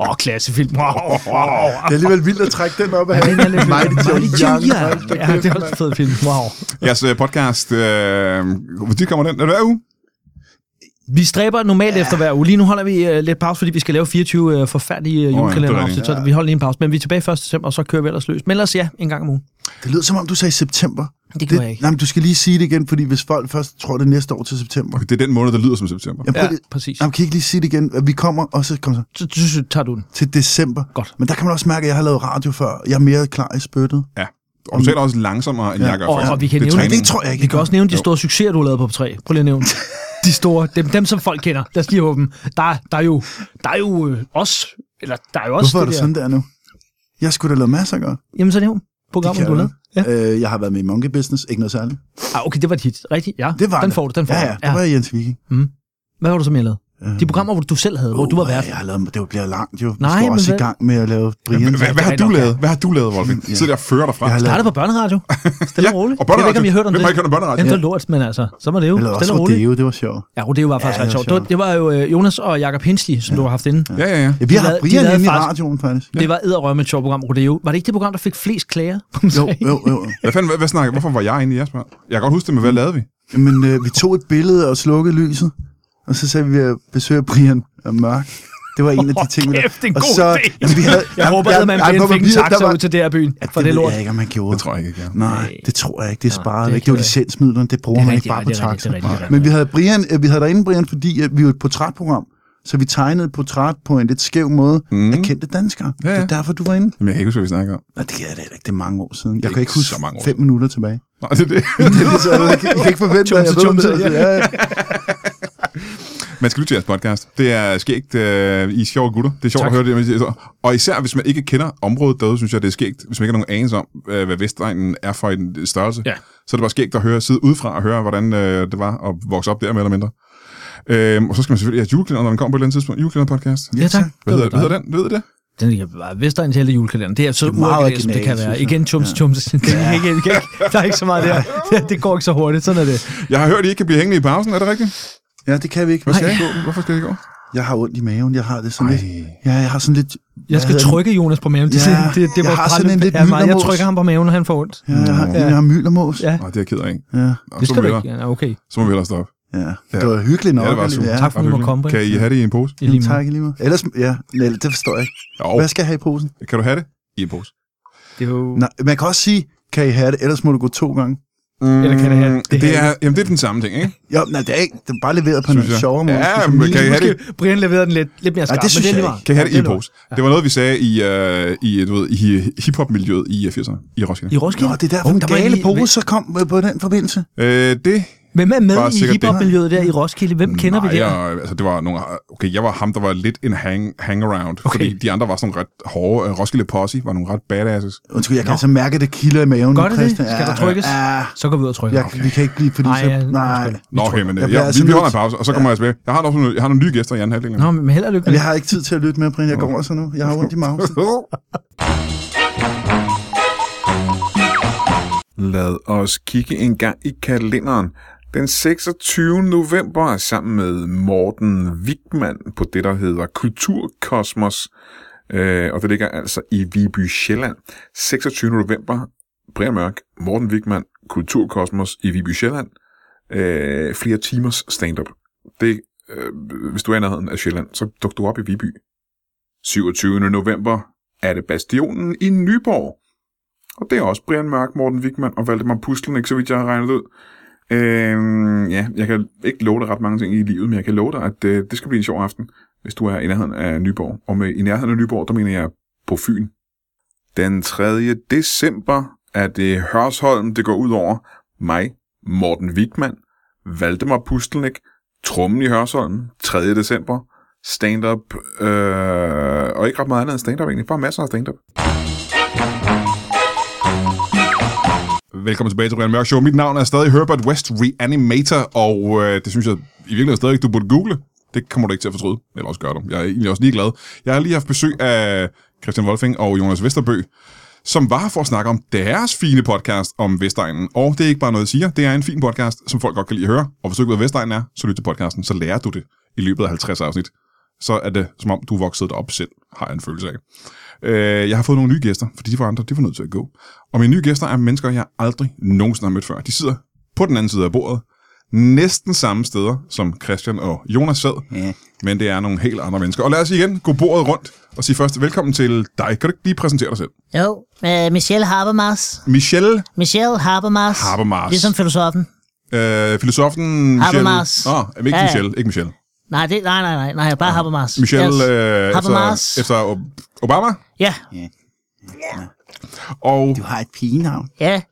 Speaker 2: Åh, oh, klassefilm. Wow, wow.
Speaker 3: Det er alligevel vildt at trække den op af
Speaker 2: Ja, den er lidt-
Speaker 3: Mighty Joe
Speaker 2: Mighty
Speaker 3: Young. Hold da
Speaker 2: Ja,
Speaker 3: kæft,
Speaker 2: det er også en fed film. Wow.
Speaker 1: Jeres øh, podcast, øh, hvor de kommer den? Er det hver uge?
Speaker 2: Vi stræber normalt ja. efter hver uge. Lige nu holder vi uh, lidt pause, fordi vi skal lave 24 uh, forfærdelige uh,
Speaker 1: det er
Speaker 2: julekalender.
Speaker 1: rigtigt.
Speaker 2: Oh, ja, så vi holder lige en pause. Men vi er tilbage 1. december, og så kører vi ellers løs. Men ellers ja, en gang om ugen.
Speaker 3: Det lød som om, du sagde september.
Speaker 2: Det gjorde jeg ikke.
Speaker 3: Nej, men du skal lige sige det igen, fordi hvis folk først tror det er næste år til september.
Speaker 1: Okay, det er den måned, der lyder som september.
Speaker 3: Jamen, prøv
Speaker 2: Ja,
Speaker 3: lige,
Speaker 2: præcis.
Speaker 3: jamen, kan I ikke lige sige det igen? Vi kommer, og så kommer så
Speaker 2: Så, så, så tager du den.
Speaker 3: til december.
Speaker 2: Godt.
Speaker 3: Men der kan man også mærke, at jeg har lavet radio før. Jeg er mere klar i spyttet.
Speaker 1: Ja. Og du taler også langsommere, end jeg gør.
Speaker 2: Og,
Speaker 1: for eksempel.
Speaker 2: og vi kan
Speaker 1: Det er
Speaker 2: nævne,
Speaker 1: træning.
Speaker 3: Det tror jeg ikke,
Speaker 2: Vi
Speaker 3: det
Speaker 2: kan også nævne de store succeser, du har lavet på P3. Prøv lige at nævne de store, dem, dem som folk kender. Lad os lige håbe dem. Der, der er jo, der er jo øh, os, eller der er jo også
Speaker 3: Hvorfor er du
Speaker 2: det der.
Speaker 3: sådan der nu? Jeg skulle da lavet masser godt.
Speaker 2: Jamen så nævn programmet,
Speaker 3: kan
Speaker 2: du har
Speaker 3: jeg
Speaker 2: lavet. Ja.
Speaker 3: Øh, jeg har været med i Monkey Business. Ikke noget særligt.
Speaker 2: Ah, okay, det var dit. Rigtigt, ja.
Speaker 3: Det var
Speaker 2: den
Speaker 3: det.
Speaker 2: får du, den får
Speaker 3: Ja,
Speaker 2: du.
Speaker 3: ja. Det var jeg Jens Viking.
Speaker 2: Hvad var du så mere lavet? De programmer, hvor du selv havde, hvor du var vært.
Speaker 3: Åh, Jeg har lavet, det bliver langt jo. Vi
Speaker 2: Nej,
Speaker 3: skal
Speaker 2: men
Speaker 3: også i
Speaker 2: hvad-
Speaker 3: gang med at lave Brian.
Speaker 1: Hvad, hvad har
Speaker 2: det er
Speaker 1: du
Speaker 2: nok,
Speaker 1: lavet? Hvad har du lavet, Wolfgang? Sidder der og fører dig frem.
Speaker 3: Jeg har lavet,
Speaker 2: Startede på børneradio. Stille og roligt.
Speaker 1: og
Speaker 2: Jeg ved ikke, om I har hørt om
Speaker 1: Hvem
Speaker 2: det.
Speaker 1: har ikke hørt om børneradio?
Speaker 2: Ja, det var lort, men altså, så var det jo.
Speaker 3: jeg lavede også
Speaker 2: Stille og roligt.
Speaker 3: Rodeo, det var sjovt.
Speaker 2: Ja, Rodeo var faktisk
Speaker 3: Ja,
Speaker 2: ret
Speaker 3: det var
Speaker 2: sjovt. Det var- Det var jo øh, Jonas og Jakob Hensley, som du har haft inde.
Speaker 1: Ja, ja, ja.
Speaker 3: Ja, vi
Speaker 2: De
Speaker 3: har haft
Speaker 2: lavede- de
Speaker 3: Brian
Speaker 2: lavede
Speaker 3: inde i
Speaker 2: faktisk-
Speaker 3: radioen, faktisk.
Speaker 2: Det var edderrømme et sjovt program, Rodeo. Var det ikke det program, der fik flest klager? *laughs* kan man
Speaker 3: Jo,
Speaker 2: sige?
Speaker 3: jo, jo.
Speaker 1: Hvad fanden, hvad, hvad snakker, hvorfor var jeg inde i jeres program? Jeg kan godt huske det, men
Speaker 2: Mm.
Speaker 1: hvad lavede vi?
Speaker 3: Men øh, vi tog et billede og slukkede lyset, og så sagde vi, at vi besøger Brian. og mørk. Det var en af de ting, vi
Speaker 2: Kæft, det er en
Speaker 3: og
Speaker 2: god
Speaker 3: så,
Speaker 2: idé.
Speaker 3: jamen, vi havde,
Speaker 2: Jeg håber, at man
Speaker 3: ej, på
Speaker 2: fik en
Speaker 3: papiret, der
Speaker 2: taxa
Speaker 3: var-
Speaker 2: ud til der byen
Speaker 3: Ja,
Speaker 2: for det lort.
Speaker 3: ved jeg ikke, om man gjorde.
Speaker 1: Det tror jeg ikke, jeg gør.
Speaker 3: Nej, det tror jeg ikke. Det er
Speaker 2: Nej,
Speaker 3: sparet
Speaker 2: det er
Speaker 3: væk. Det var de
Speaker 2: ked af.
Speaker 3: sindsmidler, det bruger
Speaker 2: Det er
Speaker 3: man ikke
Speaker 2: rigtigt,
Speaker 3: bare
Speaker 2: ja,
Speaker 3: på
Speaker 2: det er rigtigt,
Speaker 3: taxa.
Speaker 2: det er rigtigt, det er
Speaker 3: Men vi havde, Brian, øh, vi havde derinde Brian, fordi at vi var et portrætprogram, så vi tegnede et portræt på en lidt skæv måde mm. af kendte danskere.
Speaker 1: Mhm. Ja, ja.
Speaker 3: Det er derfor, du var inde.
Speaker 1: Jamen, jeg kan ikke huske, hvad vi snakker om.
Speaker 3: Nå, det kan jeg da heller ikke. Det er mange år siden. Jeg
Speaker 1: er
Speaker 3: kan ikke
Speaker 1: ikke
Speaker 3: huske
Speaker 1: så mange år
Speaker 3: fem minutter
Speaker 1: *laughs*
Speaker 3: tilbage.
Speaker 1: Nej, det er altså, det. *laughs*
Speaker 3: det er så, jeg, kan, jeg kan ikke forvente, at jeg ved, om
Speaker 2: Chumse,
Speaker 3: det.
Speaker 2: chumse,
Speaker 3: Ja, ja.
Speaker 1: Man skal lytte til jeres podcast. Det er skægt. Øh, I er sjove gutter. Det er sjovt
Speaker 2: Tak.
Speaker 1: tak. at høre det. Og især, hvis man ikke kender området derude, synes jeg, det er skægt. Hvis man ikke har nogen anelse om, øh, hvad Vestegnen er for en størrelse,
Speaker 2: Ja.
Speaker 1: så er det bare skægt at høre sidde udefra og høre, hvordan øh, det var at vokse op der, mere eller mindre. Øhm, og så skal man selvfølgelig have julekalender, når den kommer på et eller andet tidspunkt. Julekalender-podcast.
Speaker 2: Ja, tak.
Speaker 1: Hvad hedder, hvad hedder den? Ved I det?
Speaker 2: Den kan være Vestegns Helle julekalender. Det er så
Speaker 3: er meget
Speaker 2: uoriginalt, som det
Speaker 3: originalt,
Speaker 2: kan være.
Speaker 3: synes jeg.
Speaker 2: Igen, tjums, tjums. *laughs* Det kan ikke, vi kan ikke. Der er ikke så meget der. *laughs* Det- Det går ikke så hurtigt, sådan er det.
Speaker 1: Jeg har hørt, at I ikke kan blive hængende i pausen. Er det rigtigt?
Speaker 3: ja, det kan vi ikke.
Speaker 1: Hvad skal
Speaker 2: Nej.
Speaker 1: I gå? Hvorfor skal I gå?
Speaker 3: Jeg har ondt i maven. Jeg har det sådan
Speaker 1: Ej.
Speaker 3: lidt... Ja, jeg har sådan lidt...
Speaker 2: Jeg skal
Speaker 3: Hvad hedder
Speaker 2: trykke Jonas på maven. Det,
Speaker 3: Ja,
Speaker 2: det, det, det
Speaker 3: jeg
Speaker 2: var
Speaker 3: har sådan en lidt
Speaker 2: ja, mig. Jeg
Speaker 3: myldermås.
Speaker 2: trykker ham på maven, og han får ondt.
Speaker 3: den? Ja, jeg har,
Speaker 1: Ja.
Speaker 3: jeg har myldermås.
Speaker 2: Ja.
Speaker 1: Nå, det er jeg ked af. ikke?
Speaker 3: Ja.
Speaker 1: Nå,
Speaker 2: Det
Speaker 1: så,
Speaker 2: skal
Speaker 1: må vi
Speaker 2: du ikke.
Speaker 1: hellere-
Speaker 2: Ja, okay.
Speaker 1: så må vi hellere stoppe.
Speaker 3: ja. Det var hyggeligt nok.
Speaker 1: Ja, det var super.
Speaker 3: alligevel.
Speaker 2: Tak for,
Speaker 1: Ret
Speaker 2: at du må
Speaker 1: hyggeligt.
Speaker 2: komme, Brian.
Speaker 1: Kan I have det i en pose?
Speaker 2: I lige måde.
Speaker 3: Tak i lige måde. Ellers, ja, nej, det forstår jeg ikke.
Speaker 1: Jo.
Speaker 3: Hvad skal jeg have i posen?
Speaker 1: Kan du have det? I en pose.
Speaker 2: Det er jo...
Speaker 3: Nej, man kan også sige, kan I have det, ellers må du gå to gange.
Speaker 1: Mm,
Speaker 2: Eller kan det have- det
Speaker 1: det, det
Speaker 2: have-
Speaker 1: er, jamen, det er den samme ting, ikke?
Speaker 3: Jo, nej, det er ikke. Det er bare leveret på en
Speaker 1: Synes jeg.
Speaker 3: sjovere måde.
Speaker 1: Ja,
Speaker 3: Det er
Speaker 1: men
Speaker 3: lige-
Speaker 1: kan I have det?
Speaker 2: Måske Brian leverede den lidt, lidt mere skarpt,
Speaker 3: det synes
Speaker 2: men det er
Speaker 3: jeg
Speaker 2: lige meget.
Speaker 1: Kan I have det i en
Speaker 2: er
Speaker 1: pose? Det var noget, vi sagde i, øh, i, du ved, i hiphop-miljøet i øh, 80'erne i Roskilde.
Speaker 2: I Roskilde?
Speaker 3: Nå, det er derfor,
Speaker 2: Uh,
Speaker 3: den
Speaker 2: der var
Speaker 3: gale
Speaker 2: lige-
Speaker 3: pose så kom øh, på den forbindelse.
Speaker 1: Øh, det
Speaker 2: Hvem er med
Speaker 1: Bare
Speaker 2: i
Speaker 1: sikkert det.
Speaker 2: hiphop-miljøet der i Roskilde? Hvem kender
Speaker 1: nej,
Speaker 2: vi der?
Speaker 1: Jeg, altså, det var nogle, okay, jeg var ham, der var lidt en hang, hangaround, okay.
Speaker 2: Okay.
Speaker 1: fordi de andre var sådan ret hårde. Øh, Roskilde Posse var nogle ret badasses.
Speaker 3: Undskyld, jeg kan altså mærke, at det kilder i maven.
Speaker 2: Gør det det?
Speaker 3: Christian.
Speaker 2: Skal
Speaker 3: Ja,
Speaker 2: der trykkes?
Speaker 3: Ja,
Speaker 2: Så går vi ud og trykker.
Speaker 3: jeg, vi kan ikke blive, fordi
Speaker 2: Nej,
Speaker 3: så...
Speaker 2: ja,
Speaker 3: Nej,
Speaker 2: undskyld.
Speaker 1: Nå, okay, men
Speaker 3: jeg
Speaker 1: jeg,
Speaker 3: bliver
Speaker 1: jeg,
Speaker 3: altså
Speaker 1: vi, vi holder
Speaker 3: nødt-
Speaker 1: en pause, og så kommer jeg tilbage. Jeg har, også nogle, jeg har nogle nye gæster i anden halvdel.
Speaker 2: Nå, men held og lykke
Speaker 3: men
Speaker 2: med
Speaker 3: jeg har ikke tid til at lytte med, Brian. Jeg går også nu. Jeg har ondt i mausen.
Speaker 1: *laughs*
Speaker 4: Lad os kigge en gang i kalenderen. Den 26. november er sammen med Morten Wigman på det, der hedder Kulturkosmos. Øh, og det ligger altså i Viby, Sjælland. 26. november, Brian Mørk, Morten Wigman, Kulturkosmos i Viby, Sjælland. Øh, flere timers stand-up. Det, øh, hvis du er i nærheden af Sjælland, så duk du op i Viby. 27. november er det Bastionen i Nyborg. Og det er også Brian Mørk, Morten Wigman og Valdemar Puslen, ikke så vidt jeg har regnet ud. Øhm, ja, jeg kan ikke love dig ret mange ting i livet, men jeg kan love dig, at øh, det skal blive en sjov aften, hvis du er i nærheden af Nyborg. Og med i nærheden af Nyborg, der mener jeg på Fyn. Den 3. december er det Hørsholm, det går ud over mig, Morten Wigman, Valdemar Pustelnik, Trummen i Hørsholm, 3. december, stand-up, øh, og ikke ret meget andet end stand-up egentlig, bare masser af stand-up.
Speaker 1: Velkommen tilbage til Brian Mørk Show. Mit navn er stadig Herbert West Reanimator, og øh, det synes jeg i virkeligheden stadig, du burde google. Det kommer du ikke til at fortryde, eller også gør du. Jeg er egentlig også ligeglad. Jeg har lige haft besøg af Christian Wolfing og Jonas Vesterbø, som var her for at snakke om deres fine podcast om Vestegnen. Og det er ikke bare noget, jeg siger. Det er en fin podcast, som folk godt kan lide at høre. Og hvis du ikke ved, hvad Vestegnen er, så lyt til podcasten, så lærer du det i løbet af 50 afsnit. Så er det, som om du er vokset op selv, har jeg en følelse af. Øh, jeg har fået nogle nye gæster, fordi de var andre, de var nødt til at gå. Og mine nye gæster er mennesker, jeg aldrig nogensinde har mødt før. De sidder på den anden side af bordet, næsten samme steder, som Christian og Jonas sad,
Speaker 3: Ja.
Speaker 1: men det er nogle helt andre mennesker. Og lad os igen gå bordet rundt og sige først velkommen til dig. Kan du ikke lige præsentere dig selv?
Speaker 5: Jo, øh, Michelle Habermas.
Speaker 1: Michelle
Speaker 5: Michelle Habermas.
Speaker 1: Habermas.
Speaker 5: Ligesom filosofen.
Speaker 1: Øh, filosofen Michel...
Speaker 5: Habermas.
Speaker 1: Nå, jamen ikke
Speaker 5: Ja,
Speaker 1: ja,
Speaker 5: ja.
Speaker 1: Michel, ikke Michel.
Speaker 5: Nej, det, nej, nej, nej, nej, bare Habermas.
Speaker 1: Michel yes. øh,
Speaker 5: Habermas.
Speaker 1: efter, efter Ob- Obama.
Speaker 5: Ja,
Speaker 1: Og,
Speaker 3: Du har et pigenavn.
Speaker 5: ja.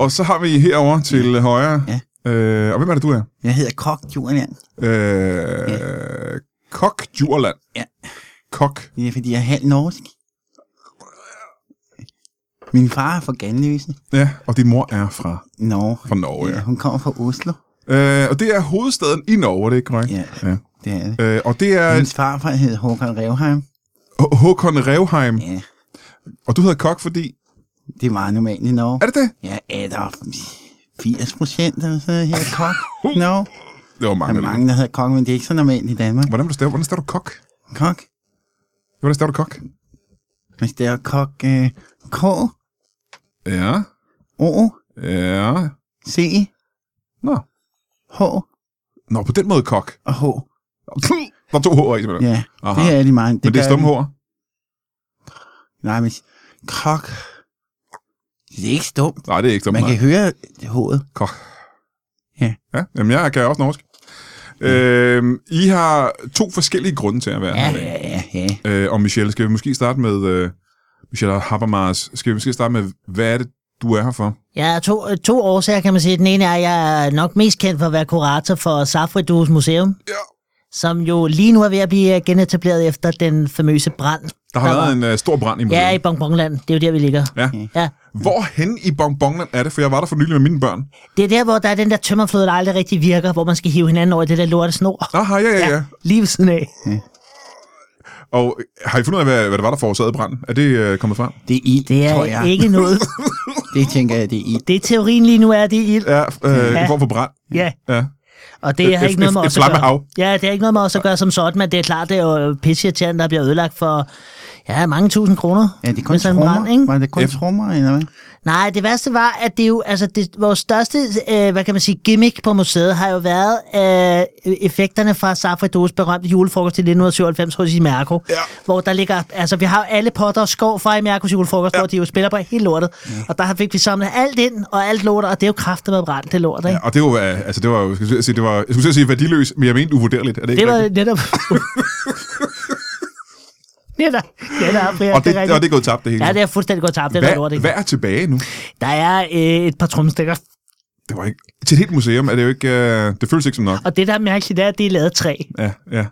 Speaker 1: og så har vi herover til højre.
Speaker 3: Ja.
Speaker 1: Øh, og hvem er det, du er?
Speaker 3: Jeg hedder Kok Julian.
Speaker 1: Øh, Kok Djurland.
Speaker 3: Ja.
Speaker 1: Kok.
Speaker 3: Det er, fordi jeg er halv norsk. Min far er fra Ganløse.
Speaker 1: Ja, og din mor er fra,
Speaker 3: Norge.
Speaker 1: fra Norge. Ja.
Speaker 3: Hun kommer fra Oslo.
Speaker 1: Øh, og det er hovedstaden i Norge, er det ikke korrekt?
Speaker 3: Ja.
Speaker 1: ja.
Speaker 3: Det er det.
Speaker 1: Øh, og det er
Speaker 3: Hendes farfar hed Håkan Revheim.
Speaker 1: H- Håkon Revheim,
Speaker 3: Ja,
Speaker 1: og du hedder Kok, fordi...
Speaker 3: det er meget normalt i Norge.
Speaker 1: Er det det?
Speaker 3: Ja, er der 80 procent eller sådan noget her
Speaker 1: *laughs*
Speaker 3: kok? No.
Speaker 1: Uh, Det var
Speaker 3: Der
Speaker 1: mange.
Speaker 3: er mange, der hedder kok, men det er ikke så normalt i Danmark.
Speaker 1: Hvordan vil du stave? Hvordan staver du kok?
Speaker 3: Kok?
Speaker 1: Hvordan staver du kok?
Speaker 3: Hvis det er kok, øh, K,
Speaker 1: Ja.
Speaker 3: O,
Speaker 1: Ja.
Speaker 3: C,
Speaker 1: Nå.
Speaker 3: H
Speaker 1: Nå, på den måde kok.
Speaker 3: og H.
Speaker 1: Der er to H'er i simpelthen.
Speaker 3: Ja,
Speaker 1: Aha.
Speaker 3: det er de mange.
Speaker 1: Men det er
Speaker 3: gør
Speaker 1: stumme
Speaker 3: de.
Speaker 1: H'er.
Speaker 3: Nej, men krok. Det er ikke stumt.
Speaker 1: Nej, det er ikke stumme
Speaker 3: Man kan
Speaker 1: H'er.
Speaker 3: høre det hovedet.
Speaker 1: Kok.
Speaker 3: Ja.
Speaker 1: Ja, jamen jeg kan også norsk. Øhm, I har to forskellige grunde til at være her i dag.
Speaker 3: Ja, ja, ja.
Speaker 1: Øh, og Michelle, skal vi måske starte med... Øh, Michelle Habermas, skal vi måske starte med, hvad er det, du er her for?
Speaker 2: Jeg er to, to årsager, kan man sige. Den ene er, at jeg er nok mest kendt for at være kurator for Safridues Museum.
Speaker 1: Ja.
Speaker 2: Som jo lige nu er ved at blive øh, genetableret efter den famøse brand.
Speaker 1: Der har
Speaker 2: Der
Speaker 1: været en øh, stor brand i museet.
Speaker 2: Ja, i Bonbonland. Det er jo der, vi ligger.
Speaker 1: Ja.
Speaker 2: Ja.
Speaker 1: Hvorhen i Bonbonland er det? For jeg var der for nylig med mine børn.
Speaker 2: Det er der, hvor der er den der tømmerflod, der aldrig rigtig virker, hvor man skal hive hinanden over i det der lorte snor.
Speaker 1: Aha, Ah, ja, ja, ja.
Speaker 2: Lige ved siden af.
Speaker 1: Og øh, har I fundet ud af, hvad, hvad det var, der forårsagede branden? Er det øh, kommet frem?
Speaker 3: Det er ild,
Speaker 2: Det
Speaker 3: tror jeg.
Speaker 2: er ikke noget.
Speaker 3: Det tænker jeg, det er ild.
Speaker 2: Det er teorien lige nu, er det er ild.
Speaker 1: Ja, øh, ja.
Speaker 2: Ja.
Speaker 1: en form for brand.
Speaker 2: Ja,
Speaker 1: Ja.
Speaker 2: og det har
Speaker 1: Et-
Speaker 2: ikke noget
Speaker 1: et-
Speaker 2: med
Speaker 1: et
Speaker 2: os at
Speaker 1: flammehav.
Speaker 2: gøre. Ja, det har ikke noget med os at gøre som sådan, men det er klart, det er jo pisseirriterende, der bliver ødelagt for ja, mange tusind kroner.
Speaker 3: Ja, det er kun
Speaker 2: Med sådan en brand,
Speaker 3: trommer.
Speaker 2: ikke?
Speaker 3: Var det kun
Speaker 1: Ja.
Speaker 3: trommer, eller hvad?
Speaker 2: Nej, det værste var, at det jo, altså det, vores største, øh, hvad kan man sige, gimmick på museet har jo været øh, effekterne fra Safri Dos berømte julefrokost i 1997 hos Imerco, ja. hvor der ligger, altså vi har jo alle potter og skov fra Imercos julefrokost, ja. hvor de jo spiller på hele lortet, ja. og der fik vi samlet alt ind og alt lort, og det er jo kraftet med brændt, det lort, ikke?
Speaker 1: Ja,
Speaker 2: Ja.
Speaker 1: og det var, øh, altså, det var, jo- jeg skulle til at sige, det var, jeg skulle til at sige værdiløs, men jeg mente uvurderligt. Er det ikke
Speaker 2: Det var
Speaker 1: rigtigt? *laughs*
Speaker 2: netop... netop, netop, ja,
Speaker 1: Og det,
Speaker 2: er
Speaker 1: og det
Speaker 2: rigtigt.
Speaker 1: er gået tabt, det hele.
Speaker 2: Ja, det er fuldstændig godt tabt, det er noget lort,
Speaker 1: hvad,
Speaker 2: ikke?
Speaker 1: hvad er tilbage nu?
Speaker 2: Der er øh, et par trumstikker
Speaker 1: Det var ikke... Til et helt museum er det jo ikke... Øh, det føles ikke som nok.
Speaker 2: Og det, der er mærkeligt, det er, at det er lavet af træ.
Speaker 1: Ja, ja.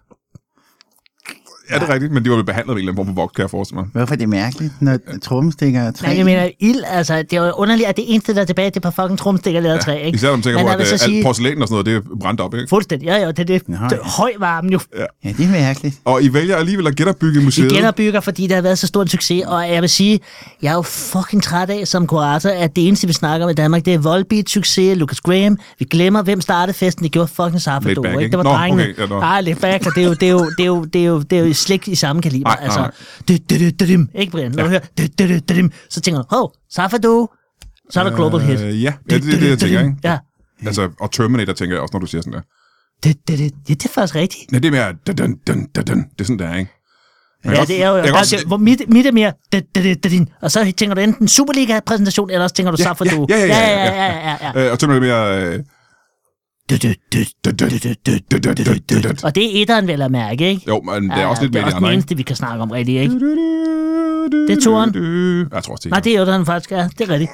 Speaker 1: Ja, det er rigtigt, men de var vel behandlet ved en eller anden form for voks, kan jeg forestille mig.
Speaker 3: Hvorfor er det mærkeligt, når trommestikker er træ?
Speaker 2: Nej, jeg mener, ild, altså, det er jo underligt, at det eneste, der er tilbage, det er et par fucking trumstikker lavet af træ, ikke?
Speaker 1: Især når man tænker
Speaker 2: Men
Speaker 1: på, at
Speaker 2: jeg vil så
Speaker 1: øh, alt
Speaker 2: sige-
Speaker 1: porcelæn og sådan noget, det er brændt op, ikke?
Speaker 2: Fuldstændig, ja, ja, det er det.
Speaker 3: Nej.
Speaker 2: det er høj varme jo.
Speaker 3: Ja, det er mærkeligt.
Speaker 1: Og I vælger alligevel at genopbygge
Speaker 2: Vi
Speaker 1: museet.
Speaker 2: genopbygger, fordi det har været så stor en succes, og jeg vil sige, jeg er jo fucking træt af som kurator, at det eneste, vi snakker om i Danmark, det er Volbeat, succes, Lucas Graham. Vi glemmer, hvem startede festen, det gjorde fucking Safri
Speaker 1: Laidback,
Speaker 2: Dore, ikke?
Speaker 1: ikke?
Speaker 2: Det var
Speaker 1: Nå,
Speaker 2: drengene.
Speaker 1: okay, ja, nå.
Speaker 2: Nej, lidt back, og det er jo, det er jo, det er jo, det er jo, det er jo slet ikke i samme kaliber. Altså,
Speaker 1: Nej, nej, nej.
Speaker 2: Du, du, du, du, dim. Ikke, Brian? Når du hører, du, du, du, du, dim, så tænker du, hov, Safri Dore, så er der global hit.
Speaker 1: Øh, ja, ja, det er det, jeg tænker, ikke?
Speaker 2: Ja.
Speaker 1: Altså, og Terminator tænker jeg også, når du siger sådan der.
Speaker 2: Det, det, det, det, det er faktisk rigtigt.
Speaker 1: Nej, det er mere... Dun, dun, dun, dun, dun. Det er sådan der, ikke? Jeg kan
Speaker 2: Ja,
Speaker 1: godt-
Speaker 2: det er jo...
Speaker 1: jeg kan
Speaker 2: Altså,
Speaker 1: godt-
Speaker 2: hvor mit, mit er mere... Da, da, da, da, din. Og så tænker du enten Superliga-præsentation, eller også tænker du Safra
Speaker 1: ja,
Speaker 2: Duo.
Speaker 1: ja, ja, ja,
Speaker 2: ja,
Speaker 1: ja,
Speaker 2: ja, ja, ja, ja.
Speaker 1: Øh, og Terminator er mere... Øh,
Speaker 2: Du, du, du,
Speaker 1: dun, dun, dun, dun, dun, dun, dun, dun.
Speaker 2: Og det er etteren, vel at mærke, ikke?
Speaker 1: Jo, men det er også lidt
Speaker 2: det
Speaker 1: mere
Speaker 2: er
Speaker 1: de
Speaker 2: også den
Speaker 1: andre, ikke?
Speaker 2: eneste, vi kan snakke om rigtigt, ikke?
Speaker 1: Det
Speaker 2: er toeren.
Speaker 1: Jeg tror også, det
Speaker 2: Nej,
Speaker 1: er
Speaker 2: det er etteren faktisk, ja. Det er rigtigt.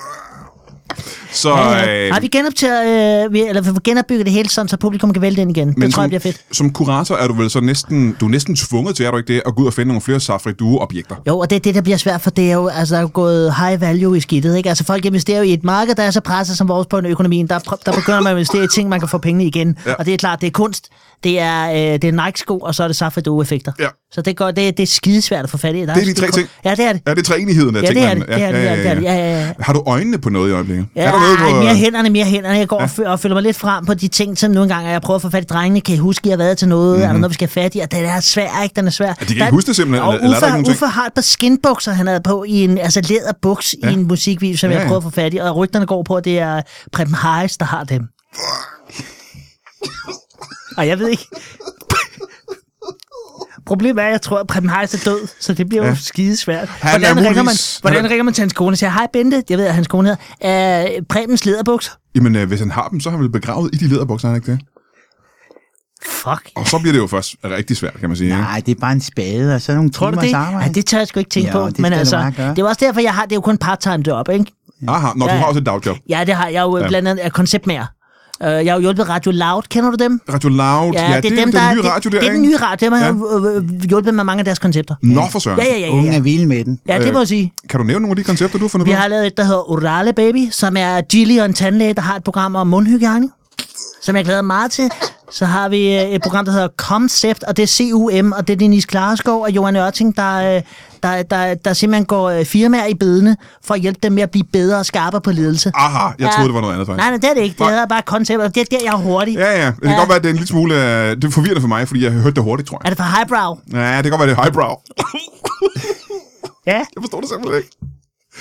Speaker 1: Så,
Speaker 2: Ja, ja.
Speaker 1: øh,
Speaker 2: Nej, vi genoptager... Øh, vi, eller vi genopbygger det hele, sådan, så publikum kan vælge ind igen.
Speaker 1: Men
Speaker 2: Det tror jeg
Speaker 1: som-
Speaker 2: bliver fedt.
Speaker 1: Som kurator er du vel så næsten, du er næsten tvunget til, er du ikke det, at gå ud og finde nogle flere Safri Duo-objekter.
Speaker 2: Jo, og det er det, der bliver svært, for det er jo, altså, der er jo gået high value i skidtet. Ikke? Altså, folk investerer jo i et marked, der er så presset som vores på en økonomien. Der, der begynder man at investere i ting, man kan få pengene igen. Ja. Og det er klart, det er kunst, det er, øh, det er Nike-sko, og så er det Safra effekter
Speaker 1: Ja.
Speaker 2: Så det, går, det, det er skidesvært at få fat i. Der
Speaker 1: Det er de tre
Speaker 2: skide-
Speaker 1: ting.
Speaker 2: Ja, det er det.
Speaker 1: Er det træenigheden af
Speaker 2: Ja, det er
Speaker 1: tingene?
Speaker 2: det. Det er det. Det er det. Ja, ja, ja.
Speaker 1: Har du øjnene på noget i øjeblikket?
Speaker 2: Ja,
Speaker 1: er der noget
Speaker 2: ej, mere hænderne, mere hænderne. Jeg går og, fø- og følger mig lidt frem på de ting, som nogle gange er. Jeg prøver at få fat i drengene. Kan I huske, I har været til noget? Mm-hmm. Er der noget, vi skal have fat i? Og det er svært, ikke? Den er svær.
Speaker 1: Mhm. de kan ikke huske det simpelthen,
Speaker 2: Og
Speaker 1: eller- eller er der ikke nogen
Speaker 2: Uffe,
Speaker 1: ting?
Speaker 2: Uffe har et par skinbukser, han havde på i en altså læderbuks ja. i en musikvideo, som
Speaker 1: Ja, ja.
Speaker 2: ja, ja. jeg prøver at få fat i. Og rygterne går på, at det er Preben Harris, der har dem. og jeg ved ikke... Problemet er, at jeg tror, at Preben Harris er død, så det bliver ja. jo
Speaker 1: er
Speaker 2: skidesvært. Hvordan ringer, man,
Speaker 1: muligvis-
Speaker 2: hvordan
Speaker 1: han er-
Speaker 2: ringer man til hans kone og siger, hej Bente, jeg ved, at hans kone hedder, øh, Prebens lederbukser.
Speaker 1: Jamen, øh, hvis han har dem, så er han vel begravet i de lederbukser, er han ikke det?
Speaker 2: Fuck.
Speaker 1: Og så bliver det jo først rigtig svært, kan man sige. Ikke?
Speaker 3: Nej, det er bare en spade, og så nogle
Speaker 2: Tror du
Speaker 3: timers
Speaker 2: det?
Speaker 3: arbejde.
Speaker 2: Ja, det tør jeg sgu ikke tænke
Speaker 3: Ja,
Speaker 2: på.
Speaker 3: det skal
Speaker 2: men
Speaker 3: du
Speaker 2: altså,
Speaker 3: bare gøre.
Speaker 2: det er jo også derfor, jeg har, det er jo kun part-time job, ikke?
Speaker 1: Aha, når du
Speaker 2: Ja.
Speaker 1: har også et dagjob.
Speaker 2: Ja, det har jeg jo ja. blandt andet er konceptmager. Uh, jeg har jo hjulpet Radio Loud, kender du dem?
Speaker 1: Radio Loud, ja, det, er dem, den nye radio
Speaker 2: det,
Speaker 1: der,
Speaker 2: det er den
Speaker 1: ikke?
Speaker 2: nye radio, dem har jeg jo, øh, øh, hjulpet med mange af deres koncepter.
Speaker 1: Nå for søren.
Speaker 2: Ja, ja, ja,
Speaker 3: Unge
Speaker 2: ja.
Speaker 3: er vilde med den.
Speaker 2: ja det må
Speaker 1: Øh,
Speaker 2: jeg sige.
Speaker 1: Kan du nævne nogle af de koncepter, du har fundet
Speaker 2: Vi
Speaker 1: på?
Speaker 2: har lavet et, der hedder Orale Baby, som er Gilly og en tandlæge, der har et program om mundhygiejne, som jeg glæder mig meget til. Så har vi øh, et program, der hedder Concept, og det er CUM, og det er Denise Klareskov og Johan Ørting, der, øh, der, der, der simpelthen går øh, firmaer i bedene for at hjælpe dem med at blive bedre og skarpere på ledelse.
Speaker 1: Aha, jeg troede, det var noget andet, faktisk.
Speaker 2: Nej, nej, det er det ikke. Det
Speaker 1: Nej.
Speaker 2: hedder bare Concept, og det er der, jeg er hurtig.
Speaker 1: Ja, ja. Det kan
Speaker 2: Ja.
Speaker 1: godt være, at det er en lille smule... øh, Det er forvirrende for mig, fordi jeg hørte det hurtigt, tror
Speaker 2: Er
Speaker 1: jeg.
Speaker 2: det for highbrow?
Speaker 1: Ja, det kan godt være, det er highbrow.
Speaker 2: Ja.
Speaker 1: Jeg forstår det simpelthen ikke.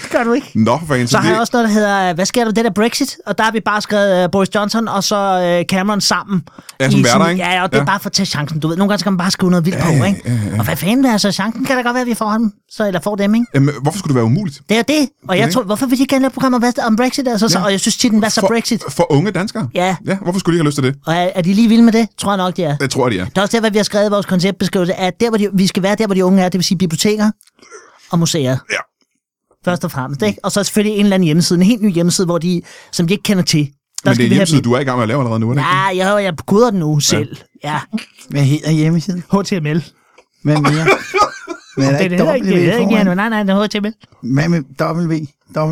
Speaker 2: det gør du ikke.
Speaker 1: Nå, for en,
Speaker 2: Så har
Speaker 1: det,
Speaker 2: jeg også noget, der hedder, øh, hvad sker der med det der Brexit? Og der har vi bare skrevet øh, Boris Johnson og så øh, Cameron sammen.
Speaker 1: Ja, som
Speaker 2: I
Speaker 1: værter,
Speaker 2: sådan-
Speaker 1: ikke?
Speaker 2: Ja, og det er
Speaker 1: Ja.
Speaker 2: bare for at tage chancen, du ved. Nogle gange skal man bare skrive noget vildt på, ikke? Og hvad fanden er så chancen? Kan da godt være, at vi får ham, så, eller får dem, ikke?
Speaker 1: Jamen, hvorfor skulle det være umuligt?
Speaker 2: Det er det. Og jeg
Speaker 1: Okay.
Speaker 2: tror, hvorfor vil de ikke gerne lave programmer hvad- om Brexit? Altså, så, og jeg synes tit, den, hvad så
Speaker 1: For,
Speaker 2: Brexit?
Speaker 1: for unge danskere?
Speaker 2: Ja.
Speaker 1: ja. Hvorfor skulle de ikke have lyst til det?
Speaker 2: Og er, er de lige vilde med det? Tror jeg nok, de er.
Speaker 1: Det tror jeg, de er.
Speaker 2: Det er også der, hvad vi har skrevet i vores konceptbeskrivelse, at der, hvor de, vi skal være der, hvor de unge er, det vil sige biblioteker og museer.
Speaker 1: Ja.
Speaker 2: Først og fremmest, ikke? Og så selvfølgelig en eller anden hjemmeside, en helt ny hjemmeside, hvor de, som de ikke kender til. Der
Speaker 1: Men det er
Speaker 2: vi have
Speaker 1: hjemmeside, du er i gang med at lave allerede nu, er det ikke?
Speaker 2: Ja, jeg, jeg koder den nu selv. Ja.
Speaker 3: Hvad hedder hjemmesiden?
Speaker 2: HTML.
Speaker 3: Hvad mere? Men er der
Speaker 2: Det er
Speaker 3: ikke
Speaker 2: heller ikke, det er heller
Speaker 3: W
Speaker 2: ikke,
Speaker 3: foran?
Speaker 2: ja, nej, nej, det er HTML.
Speaker 3: Hvad med W?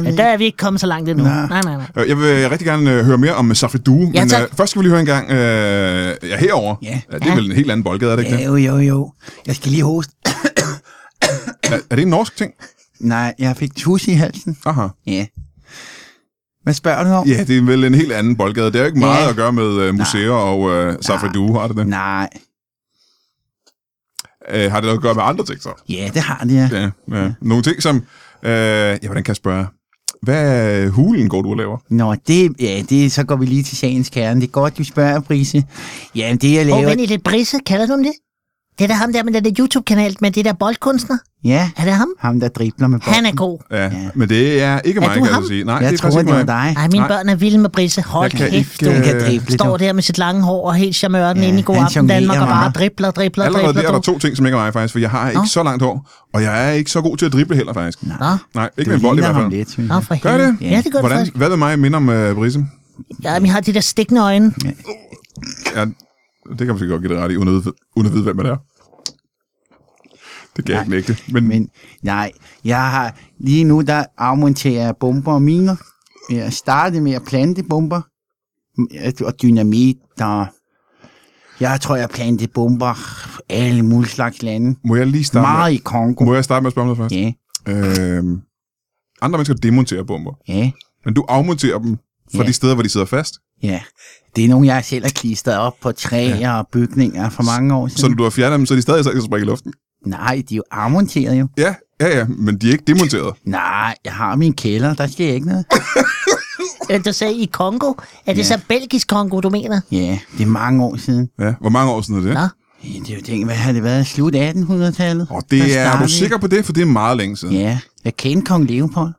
Speaker 3: W?
Speaker 2: Ja, der er vi ikke kommet så langt endnu.
Speaker 3: Nej.
Speaker 2: Nej, nej, nej.
Speaker 1: Øh, Jeg vil rigtig gerne øh, høre mere om øh, Safri Due,
Speaker 2: Ja,
Speaker 1: men
Speaker 2: tak.
Speaker 1: øh, først skal vi lige høre en gang øh, ja, herover.
Speaker 3: Ja.
Speaker 1: Det er vel en helt anden boldgade, er det ikke
Speaker 3: Ja,
Speaker 1: det?
Speaker 3: jo, jo, jo. Jeg skal lige hoste. *clears throat*
Speaker 1: Er, er det en norsk ting?
Speaker 3: Nej, jeg fik tus i halsen.
Speaker 1: Aha.
Speaker 3: Ja. Hvad spørger du om?
Speaker 1: Ja, det er vel en helt anden boldgade. Det er jo ikke meget
Speaker 3: Ja.
Speaker 1: at gøre med øh, museer og øh, Safri Due, har det det?
Speaker 3: Nej.
Speaker 1: Øh, har det noget at gøre med andre ting, så?
Speaker 3: Ja, det har det, ja.
Speaker 1: Ja, ja. Nogle ting, som... Øh, ja, hvordan kan jeg spørge? Hvad er hulen går du og laver?
Speaker 3: Nå, det, ja, det, så går vi lige til sagens kerne. Det er godt, du spørger, Brise. Jamen, det jeg
Speaker 2: Og
Speaker 3: laver...
Speaker 2: vent i lidt brise, kalder du ham det? Det er da ham der med den der YouTube-kanal med det der boldkunstner.
Speaker 3: ja,
Speaker 2: Er det ham?
Speaker 3: ham der dribler med bolden.
Speaker 2: Han er god.
Speaker 1: Ja, ja. men det er ikke
Speaker 2: Er
Speaker 1: mig,
Speaker 2: du
Speaker 1: kan jeg
Speaker 2: ham?
Speaker 1: så sige. Nej,
Speaker 3: jeg
Speaker 1: det er
Speaker 3: tror,
Speaker 1: faktisk
Speaker 3: det var
Speaker 1: ikke mig.
Speaker 3: dig.
Speaker 2: Ej, mine
Speaker 1: Nej.
Speaker 2: børn er vilde med brise. Hold
Speaker 1: Jeg kan
Speaker 2: kæft,
Speaker 1: ikke,
Speaker 2: du.
Speaker 3: Han kan
Speaker 1: Øh,
Speaker 3: drible,
Speaker 2: Står
Speaker 3: du.
Speaker 2: der med sit lange hår og helt charmørten
Speaker 3: Ja,
Speaker 2: inde i god
Speaker 3: han
Speaker 2: aften Danmark og
Speaker 3: jonglerer
Speaker 2: bare
Speaker 3: meget.
Speaker 2: dribler, dribler,
Speaker 1: Allerede der er
Speaker 2: dribler.
Speaker 1: der to ting, som ikke er mig faktisk, for jeg har ikke så langt hår, og jeg er ikke så god til at drible heller faktisk. Nej,
Speaker 2: Nå,
Speaker 1: Nej ikke med en
Speaker 3: Du
Speaker 1: bold i
Speaker 3: ligner
Speaker 1: hvert
Speaker 3: ham
Speaker 1: fald.
Speaker 3: lidt, synes
Speaker 2: nå
Speaker 3: jeg.
Speaker 2: for
Speaker 1: Gør
Speaker 2: helvede.
Speaker 1: det?
Speaker 2: Ja, det gør det
Speaker 1: Hvordan,
Speaker 2: faktisk.
Speaker 1: Hvad vil mig minde om uh, Brise?
Speaker 2: Ja, vi har de der stikkende øjne.
Speaker 1: Ja, det kan man sikkert godt give det ret i, uden at vide, uden at vide hvem man er. Det kan jeg ikke nægte. Men, men
Speaker 3: Men nej, jeg har lige nu, der afmonterer jeg bomber og miner. Jeg startede med at plante bomber og dynamit, og jeg tror, jeg plantede bomber alle mulige slags lande.
Speaker 1: må jeg lige starte
Speaker 3: Meget
Speaker 1: med,
Speaker 3: i Kongo.
Speaker 1: må jeg starte med at spørge om noget først?
Speaker 3: Ja,
Speaker 1: Øhm, andre mennesker demonterer bomber,
Speaker 3: ja,
Speaker 1: men du afmonterer dem fra
Speaker 3: Ja.
Speaker 1: de steder, hvor de sidder fast.
Speaker 3: ja. Det er nogle, jeg selv har klistret op på træer ja. og bygninger for mange år
Speaker 1: Så
Speaker 3: siden.
Speaker 1: når du har fjernet dem, så er de stadig så ikke så springe i luften.
Speaker 3: Nej, de er jo afmonteret jo.
Speaker 1: Ja, ja, ja, men de er ikke demonteret.
Speaker 3: Nej, jeg har min kælder, der sker ikke noget.
Speaker 2: Øh, Du sagde i Kongo. Er det
Speaker 3: Ja.
Speaker 2: så belgisk Kongo, du mener?
Speaker 3: Ja, det er mange år siden.
Speaker 1: Ja, hvor mange år siden er det?
Speaker 2: Nå.
Speaker 3: Ja, Det er jo tænkt, hvad har det været? Slut 1800-tallet?
Speaker 1: Og det er,
Speaker 3: Der
Speaker 1: er du
Speaker 3: startede-
Speaker 1: sikker på det? For det er meget længe siden.
Speaker 3: Ja, jeg kendte kong Leopold.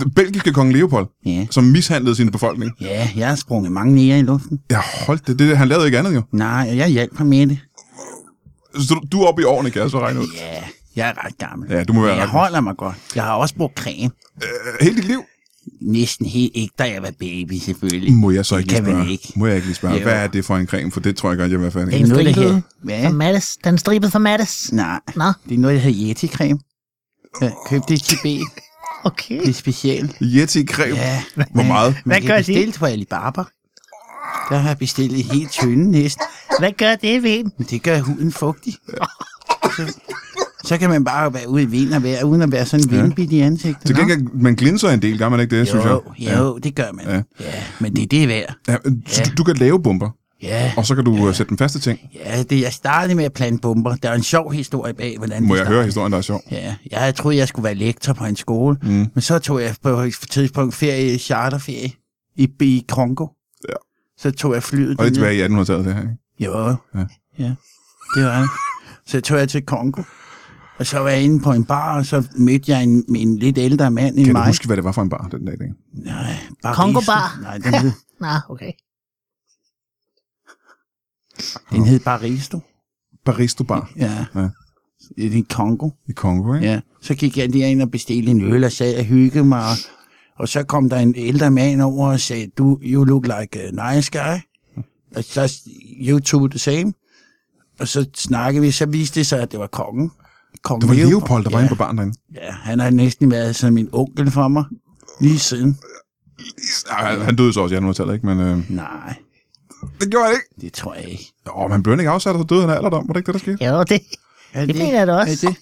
Speaker 1: Den belgiske kong Leopold,
Speaker 3: Ja.
Speaker 1: som mishandlede sin befolkning.
Speaker 3: Ja, jeg har sprunget mange nære i luften.
Speaker 1: Ja, hold det, det. Han lavede ikke andet jo.
Speaker 3: Nej, og jeg hjalp ham med det.
Speaker 1: Så du, du er oppe i årene, kan jeg så regne ud.
Speaker 3: Ja, jeg er ret gammel.
Speaker 1: Ja, du må være
Speaker 3: Men jeg
Speaker 1: ret-
Speaker 3: holder mig godt. Jeg har også brugt creme.
Speaker 1: Øh, hele dit liv?
Speaker 3: Næsten helt ikke, da jeg var baby, selvfølgelig.
Speaker 1: Må jeg så ikke
Speaker 3: kan
Speaker 1: lige spørge?
Speaker 3: man ikke.
Speaker 1: Må jeg ikke lige spørge?
Speaker 3: Jo.
Speaker 1: Hvad er det for en creme? For det tror jeg godt, jeg vil være færdig.
Speaker 2: Den
Speaker 3: noget, der
Speaker 2: stribede
Speaker 3: hedder-
Speaker 2: for
Speaker 3: Hvad?
Speaker 2: Mattes. Den stribede for Mattes.
Speaker 3: Nej,
Speaker 2: Nå,
Speaker 3: det er noget, der hedder Yeti-creme. Jeg købte det i Tibet.
Speaker 2: okay.
Speaker 3: Det er specielt.
Speaker 1: Yeti-creme?
Speaker 3: Ja,
Speaker 1: Hvor meget?
Speaker 3: man
Speaker 2: Hvad
Speaker 3: kan
Speaker 2: gør de?
Speaker 3: bestille på Alibaba. Der har jeg bestilt en helt tynde næsten.
Speaker 2: Hvad gør det ved en?
Speaker 3: Men det gør huden fugtig. Så, så kan man bare være ude i vind og være, uden at være sådan vindbit i ansigtet.
Speaker 1: Til
Speaker 3: Nå?
Speaker 1: gengæld, man glinser en del, gør man ikke det, synes jeg?
Speaker 3: Jo, jo, det gør man.
Speaker 1: Ja.
Speaker 3: Ja. ja. men det er det værd.
Speaker 1: Ja, så du, du kan lave bomber,
Speaker 3: Ja,
Speaker 1: og så kan du øh, sætte den faste ting.
Speaker 3: ja, det jeg startede med at plante bomber. Der er en sjov historie bag, hvordan
Speaker 1: Må
Speaker 3: det
Speaker 1: jeg
Speaker 3: startede.
Speaker 1: høre historien, der er sjov?
Speaker 3: Ja, jeg havde troet, jeg skulle være lektor på en skole, mm. men så tog jeg på et tidspunkt ferie, charterferie i, i Kongo.
Speaker 1: Ja.
Speaker 3: Så tog jeg flyet.
Speaker 1: Og det er tilbage
Speaker 3: derned.
Speaker 1: i 1800-tallet, det her. Ikke?
Speaker 3: Jo.
Speaker 1: Ja.
Speaker 3: Ja. ja. Det var det. Så tog jeg til Kongo. Og så var jeg inde på en bar, og så mødte jeg en, en lidt ældre mand end
Speaker 1: Kan
Speaker 3: mig.
Speaker 1: du huske, hvad det var for en bar den dag? i dag?
Speaker 3: Nej, bare
Speaker 2: Kongo-bar?
Speaker 3: Nej, den hed,
Speaker 2: Nå, okay.
Speaker 3: den hed Baristo.
Speaker 1: Baristo Bar
Speaker 3: Ja.
Speaker 1: Ja.
Speaker 3: ja. Det er i Kongo.
Speaker 1: i Kongo, ikke?
Speaker 3: Ja. Så gik jeg derind og bestilte en øl og sad og hyggede mig. Og, og så kom der en ældre mand over og sagde, du, you look like a nice guy. Og så s- you two the same. Og så snakkede vi, så viste det sig, at det var kongen. Kong
Speaker 1: Det var
Speaker 3: Leopold.
Speaker 1: Leopold, der var
Speaker 3: ja.
Speaker 1: inde på baren derinde.
Speaker 3: Ja, han har næsten været som min onkel for mig. Lige siden.
Speaker 1: Ja, han døde så også i 1800-tallet, ikke? Men øh,
Speaker 3: Nej,
Speaker 1: det gjorde han ikke.
Speaker 3: det tror jeg ikke.
Speaker 1: Åh, men blev han ikke afsat, og så døde han af alderdom. Var det ikke det, der skete?
Speaker 2: Jo, det.
Speaker 3: Er
Speaker 2: Det mener jeg da også.
Speaker 3: Er det?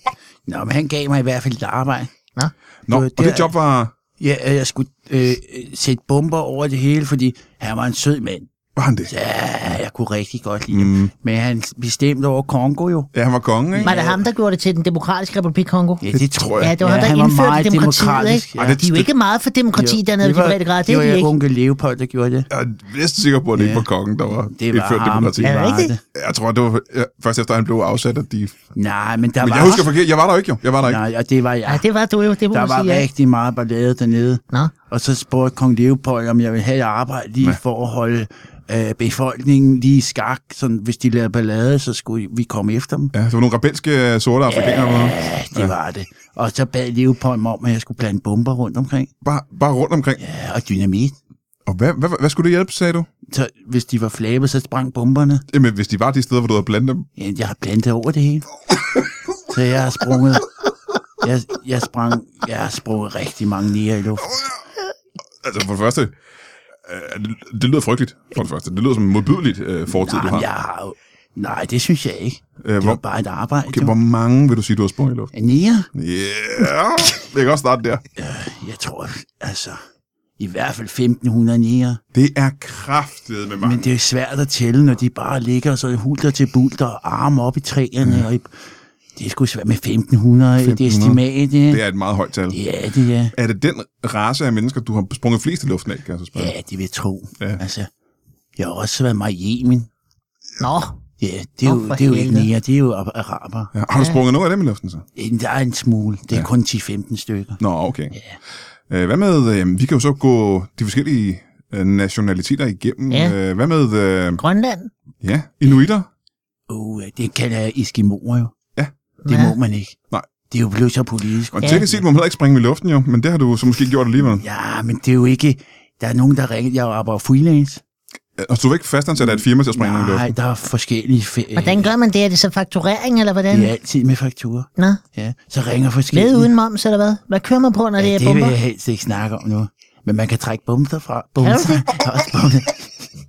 Speaker 3: Nå, men han gav mig i hvert fald et arbejde.
Speaker 1: Nå,
Speaker 3: Det var
Speaker 1: og det
Speaker 3: der-
Speaker 1: job var...
Speaker 3: Ja, at jeg skulle øh, øh, sætte bomber over det hele, fordi han var en sød mand.
Speaker 1: Var han det?
Speaker 3: Ja, jeg kunne rigtig godt lide mm. Men han bestemte over Kongo jo.
Speaker 1: Ja, han var konge, ikke?
Speaker 5: Var det ham, der gjorde det til den demokratiske republik Kongo?
Speaker 3: Ja, det tror jeg.
Speaker 5: Ja, det var ja, ham, der
Speaker 3: han var
Speaker 5: indførte
Speaker 3: meget
Speaker 5: demokratiet,
Speaker 3: demokratisk,
Speaker 5: ikke?
Speaker 3: ja.
Speaker 5: Ja. De er jo ikke meget for demokrati dernede i de private grader, det er de
Speaker 3: Det var
Speaker 5: ikke.
Speaker 3: onkel Leopold, der gjorde det.
Speaker 1: Jeg er næsten sikker på, at det ikke
Speaker 3: Ja.
Speaker 1: var kongen, der var
Speaker 3: Det var
Speaker 1: indført
Speaker 3: ham.
Speaker 1: demokrati.
Speaker 5: Er det
Speaker 3: var
Speaker 5: rigtigt?
Speaker 3: det.
Speaker 1: Jeg tror, det var ja, først efter, han blev afsat, at de...
Speaker 3: Nej, men der
Speaker 1: Men
Speaker 3: var...
Speaker 1: jeg husker forkert. Jeg var der jo ikke, jo. Jeg var der ikke.
Speaker 3: Nej, og det var jeg.
Speaker 5: Ja, det var du jo, det må
Speaker 3: Der
Speaker 5: man
Speaker 3: var
Speaker 5: sige. ja.
Speaker 3: rigtig meget ballade dernede.
Speaker 5: Nå.
Speaker 3: Og så spurgte kong Leopold, om jeg ville have et arbejde lige for at holde øh, befolkningen lige i skak. Sådan, hvis de lavede ballade, så skulle vi komme efter dem.
Speaker 1: Ja, det var nogle rebelske øh, sorte afrikanere. eller noget.
Speaker 3: Ja, det ja. var det. Og så bad Leopold mig om, at jeg skulle blande bomber rundt omkring.
Speaker 1: Bare, bare rundt omkring.
Speaker 3: Ja, og dynamit.
Speaker 1: Og hvad, hvad, hvad skulle det hjælpe, sagde du?
Speaker 3: Så hvis de var flabe, så sprang bomberne.
Speaker 1: Jamen, hvis de var de steder, hvor du havde blandet dem.
Speaker 3: Ja, jeg har blandet over det hele. Så jeg har sprunget... Jeg, jeg, sprang, jeg har sprunget rigtig mange nære i luften.
Speaker 1: Altså, for det første... øh, det- Det lyder frygteligt, for det første. Det lyder som en modbydelig øh, fortid, du
Speaker 3: Jamen,
Speaker 1: har.
Speaker 3: jeg har jo... Nej, det synes jeg ikke.
Speaker 1: Øh,
Speaker 3: Det
Speaker 1: hvor-
Speaker 3: var bare et arbejde.
Speaker 1: Okay,
Speaker 3: jo.
Speaker 1: hvor mange vil du sige, du har sprunget i luften?
Speaker 3: Nære?
Speaker 1: Yeah. Jeg kan også starte der.
Speaker 3: Jeg tror, altså... I hvert fald 1500 nære.
Speaker 1: Det er kraftet med mig.
Speaker 3: Men det er svært at tælle, når de bare ligger så hulter til bulter og arme op i træerne. Og i, det er sgu svært med 1500 i et
Speaker 1: 1500.
Speaker 3: estimat. Det,
Speaker 1: Det er et meget højt tal.
Speaker 3: det er det, ja.
Speaker 1: Er det den race af mennesker, du har sprunget flest i luften af, kan jeg så spørge?
Speaker 3: Ja, det vil jeg tro.
Speaker 1: Ja.
Speaker 3: Ja. Altså, jeg har også været mig i Yemen.
Speaker 5: Nå,
Speaker 3: Ja, det er,
Speaker 5: Nå,
Speaker 3: jo,
Speaker 5: for
Speaker 3: det er jo ikke
Speaker 5: helvede.
Speaker 3: nære, det er jo ar- araber.
Speaker 1: Ja, har du sprunget noget af dem i luften så?
Speaker 3: Ja. Der er en smule. Det er
Speaker 1: Ja.
Speaker 3: ja. kun 10-15 stykker.
Speaker 1: Nå, okay. Yeah. Hvad med, øh, vi kan jo så gå de forskellige øh, nationaliteter igennem.
Speaker 5: Ja.
Speaker 1: Øh, Hvad med, øh,
Speaker 5: Grønland.
Speaker 1: ja, inuiter?
Speaker 3: Åh, oh, det kalder jeg Eskimoer jo.
Speaker 1: Ja.
Speaker 3: Det
Speaker 5: Ja.
Speaker 3: må man ikke.
Speaker 1: Nej.
Speaker 3: Det er jo blevet så politisk.
Speaker 1: Og teknisk set må man heller ikke springe i luften jo, men det har du så måske gjort alligevel.
Speaker 3: Ja, men det er jo ikke... Der er nogen, der ringer. Jeg arbejder freelance.
Speaker 1: Øh, Og du er ikke fastansat af et firma til at springe nogen i
Speaker 3: Nej,
Speaker 1: luften?
Speaker 3: der er forskellige... Fe-
Speaker 5: Hvordan gør man det? Er det så fakturering, eller hvordan?
Speaker 3: Det er altid med fakturer.
Speaker 5: Nå,
Speaker 3: Ja, så ringer
Speaker 5: med
Speaker 3: forskellige...
Speaker 5: uden moms, eller hvad? Hvad kører man på, når det
Speaker 3: ja,
Speaker 5: er
Speaker 3: det vil
Speaker 5: bomber?
Speaker 3: jeg helst ikke snakke om nu. Men man kan trække bumser fra. Bumser.
Speaker 5: Kan du
Speaker 3: Der er også bumser.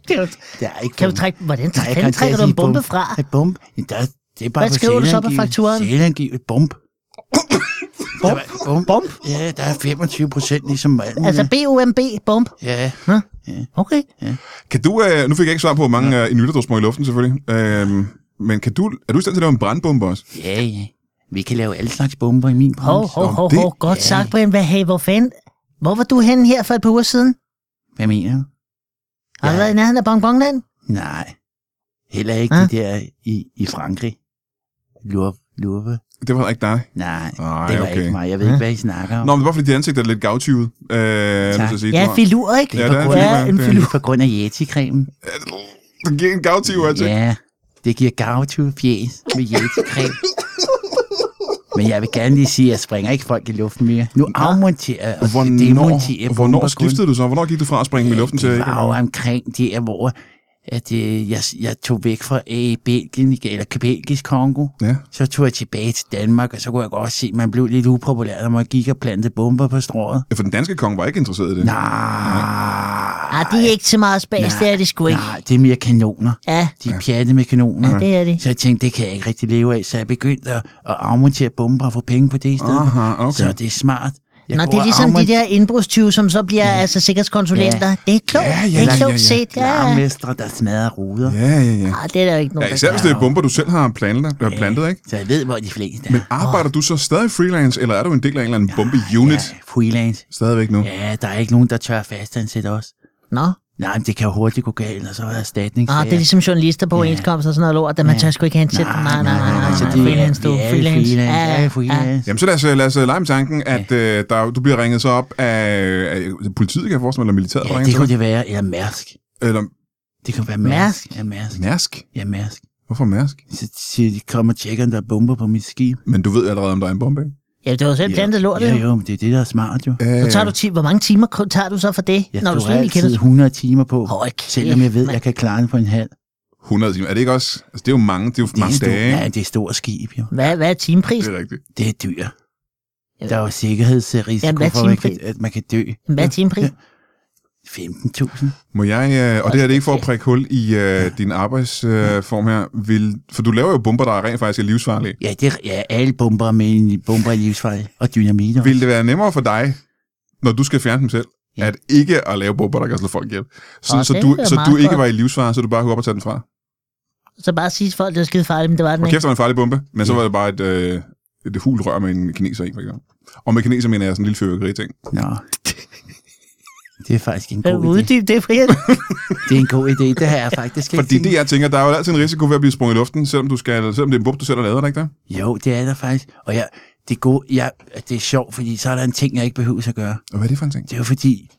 Speaker 5: Det-
Speaker 3: Der er ikke
Speaker 5: Kan du
Speaker 3: bumser.
Speaker 5: trække, hvordan
Speaker 3: Nej, jeg
Speaker 5: fanden
Speaker 3: kan
Speaker 5: trækker
Speaker 3: ikke
Speaker 5: du en
Speaker 3: sige
Speaker 5: bombe
Speaker 3: bum.
Speaker 5: fra?
Speaker 3: Et bump? Ja, Der, det er bare
Speaker 5: Hvad skriver du så på fakturen?
Speaker 3: Sælangivet bump. Bump? Bump? bump? Ja, der er 25 procent ligesom alt
Speaker 5: Altså
Speaker 3: muligt.
Speaker 5: B-O-M-B, bombe.
Speaker 3: Ja,
Speaker 5: Okay.
Speaker 1: Kan du, øh, nu fik jeg ikke svar på, hvor mange øh, inuiter, du har sprunget i luften selvfølgelig. Øh, men kan du, er du i stand til at lave en brandbombe også?
Speaker 3: ja, ja. Vi kan lave alle slags bomber i min
Speaker 5: Hov,
Speaker 3: branche.
Speaker 5: hov,
Speaker 1: Nå,
Speaker 5: hov,
Speaker 1: det-
Speaker 5: hov. Godt sagt, Brian. Hvad, hey, hvor fanden? Hvor var du henne her for et par uger siden?
Speaker 3: Hvad mener du?
Speaker 5: Har du
Speaker 3: Ja.
Speaker 5: været i nærheden af Bongbongland?
Speaker 3: Nej. Heller ikke
Speaker 5: Ah.
Speaker 3: ah. de der i, i Frankrig. Lurve. Lurve.
Speaker 1: Det var ikke dig.
Speaker 3: Nej,
Speaker 1: Nej,
Speaker 3: det var
Speaker 1: okay.
Speaker 3: ikke mig. Jeg ved ikke, hvad I snakker om.
Speaker 1: Nå, men det var fordi, dit ansigt er lidt gavtyvet. Øh, tak. Sige,
Speaker 5: Ja,
Speaker 1: Du har- *laughs*
Speaker 5: filur, ikke?
Speaker 3: det
Speaker 1: Ja,
Speaker 3: er
Speaker 1: der er
Speaker 3: på
Speaker 1: en
Speaker 3: grund,
Speaker 1: filur,
Speaker 3: af, en
Speaker 1: det er-
Speaker 3: filur. på grund af yeti-cremen.
Speaker 1: Det giver en gavtyv altså. ansigt.
Speaker 3: Ja, det giver gavtive fjes med yeti-creme. Men jeg vil gerne lige sige, at jeg springer ikke folk i luften mere. Nu afmonterer jeg og demonterer
Speaker 1: Hvornår,
Speaker 3: jeg
Speaker 1: hvornår
Speaker 3: bomber kun.
Speaker 1: skiftede du så? Hvornår gik du fra at springe i luften til...
Speaker 3: Det var jo omkring der, hvor at, øh, jeg, jeg tog væk fra øh, Belgien, igen, eller Belgisk Kongo.
Speaker 1: Ja.
Speaker 3: Så tog jeg tilbage til Danmark, og så kunne jeg godt se, at man blev lidt upopulær, når man gik og plantede bomber på strået.
Speaker 1: Ja, for den danske konge var ikke interesseret i det.
Speaker 5: Ah,
Speaker 3: Nej,
Speaker 5: de er ikke så meget spas, det er det sgu ikke.
Speaker 3: nej, det er mere kanoner.
Speaker 5: Ja,
Speaker 3: De er pjatte med kanoner.
Speaker 5: det er det.
Speaker 3: Så jeg tænkte, det kan jeg ikke rigtig leve af, så jeg begyndte at, at afmontere bomber og få penge på det i stedet.
Speaker 1: Aha,
Speaker 3: Så
Speaker 1: okay.
Speaker 3: det er smart. Jeg
Speaker 5: Nå, det
Speaker 3: går
Speaker 5: er
Speaker 3: og
Speaker 5: ligesom de
Speaker 3: afmonterer-
Speaker 5: der indbrudstyve, som så bliver altså sikkerhedskonsulenter. Det er klogt.
Speaker 1: Ja, ja,
Speaker 5: det er
Speaker 1: ja,
Speaker 5: klogt
Speaker 1: ja, ja.
Speaker 5: set. Ja, ja.
Speaker 3: Larmestre, der smadrer ruder.
Speaker 1: Ja, ja, ja.
Speaker 5: Ah, det er der jo ikke
Speaker 1: ja
Speaker 5: nogen,
Speaker 1: især
Speaker 5: der
Speaker 1: hvis
Speaker 5: gør.
Speaker 1: det er bomber, du selv har plantet, øh, plantet ikke?
Speaker 3: Så jeg ved, hvor de fleste er. Men
Speaker 1: Arbejder du så stadig freelance, eller er du en del af en eller anden bombe-unit
Speaker 3: Ja, freelance.
Speaker 1: stadigvæk nu?
Speaker 3: Ja, der er ikke nogen, der tør fastansætte os.
Speaker 5: Nå,
Speaker 3: Nej, men det kan jo hurtigt gå galt, og så er der erstatning.
Speaker 5: ah, det er ligesom journalister på overenskomster og sådan noget lort, at man
Speaker 3: Ja.
Speaker 5: tør sgu ikke ansætte. Nej, nej, nej, nej,
Speaker 3: Så
Speaker 5: nej,
Speaker 3: altså, det er,
Speaker 5: freelance, du,
Speaker 3: det er
Speaker 5: freelance.
Speaker 3: freelance.
Speaker 5: Ja,
Speaker 3: Ja,
Speaker 5: ja.
Speaker 3: freelance.
Speaker 1: Jamen, så lad os, øh, lad os lege med tanken, at øh, der, du bliver ringet så op af, af politiet, kan jeg forestille mig, eller militæret,
Speaker 3: Ja,
Speaker 1: ringer
Speaker 3: det
Speaker 1: til
Speaker 3: kunne
Speaker 1: dig.
Speaker 3: det være. Eller mærsk.
Speaker 1: Eller
Speaker 3: Det kunne være mærsk.
Speaker 5: Mærsk?
Speaker 3: Ja, mærsk.
Speaker 1: mærsk.
Speaker 3: Ja, mærsk.
Speaker 1: Hvorfor mærsk?
Speaker 3: Så siger de, kom og tjekker, om der er bomber på mit skib.
Speaker 1: Men du ved allerede, om der er en bombe, ikke?
Speaker 5: Ja, det var selv plantet lort,
Speaker 3: Ja,
Speaker 5: jo.
Speaker 3: jo, men det er det, der er smart, jo.
Speaker 1: Øh,
Speaker 5: Så tager du ti- hvor mange timer kun tager du så for det,
Speaker 3: Jeg
Speaker 5: når du
Speaker 3: tror
Speaker 5: slet ikke kender
Speaker 3: altid 100 timer på,
Speaker 5: Hold kæft,
Speaker 3: selvom jeg ved,
Speaker 5: mand.
Speaker 3: jeg kan klare det på en halv.
Speaker 1: 100 timer. Er det ikke også? Altså, det er jo mange, det er jo
Speaker 3: Det er
Speaker 1: mange
Speaker 3: stor,
Speaker 1: dage,
Speaker 3: ja,
Speaker 1: ikke?
Speaker 3: det er stort skib, jo.
Speaker 5: Hvad, hvad er timepris?
Speaker 1: Det er rigtigt.
Speaker 3: Det er dyr.
Speaker 5: Jeg
Speaker 3: Der er jo sikkerhedsrisiko
Speaker 5: Jamen,
Speaker 3: Jamen,
Speaker 5: hvad er
Speaker 3: for, at man, kan,
Speaker 5: timepris?
Speaker 3: at man kan dø.
Speaker 5: Hvad er timepris?
Speaker 3: 15.000.
Speaker 1: Må jeg, øh, og det her det er ikke for at prikke hul i øh, din arbejdsform øh, form her, vil, for du laver jo bomber, der rent faktisk er livsfarlige.
Speaker 3: Ja, det er, ja, alle bomber med en bomber i livsfejl og dynamit. også.
Speaker 1: Vil det være nemmere for dig, når du skal fjerne dem selv, at ikke at lave bomber, der kan slå folk ihjel. Sådan,
Speaker 2: Åh,
Speaker 1: så
Speaker 2: det
Speaker 1: du,
Speaker 2: lyder
Speaker 1: så
Speaker 2: meget
Speaker 1: du ikke
Speaker 2: godt.
Speaker 1: var i livsfare, så du bare kunne op og tage den fra.
Speaker 2: Så bare sige til folk, det var skide farligt, men det var den
Speaker 1: Og
Speaker 2: ikke.
Speaker 1: kæft, det var en farlig bombe, men så var det bare et, øh, et hul rør med en kineser i, for eksempel. Og med kineser mener jeg sådan en lille fyrværkeri-ting.
Speaker 3: Nå. Det er faktisk en
Speaker 2: Øh,
Speaker 3: god idé.
Speaker 2: Uddyb det, Brian.
Speaker 3: Det er en god idé. Det har jeg faktisk ikke
Speaker 1: Fordi
Speaker 3: tænkt.
Speaker 1: det, jeg tænker, der er jo altid en risiko ved at blive sprunget i luften, selvom, du skal, selvom det er en bub, du selv har lavet, er det ikke det?
Speaker 3: Jo, det er der faktisk. Og jeg, det, er gode, jeg, det er sjovt, fordi så er der en ting, jeg ikke behøver at gøre.
Speaker 1: Og hvad er det for en ting?
Speaker 3: Det er jo fordi,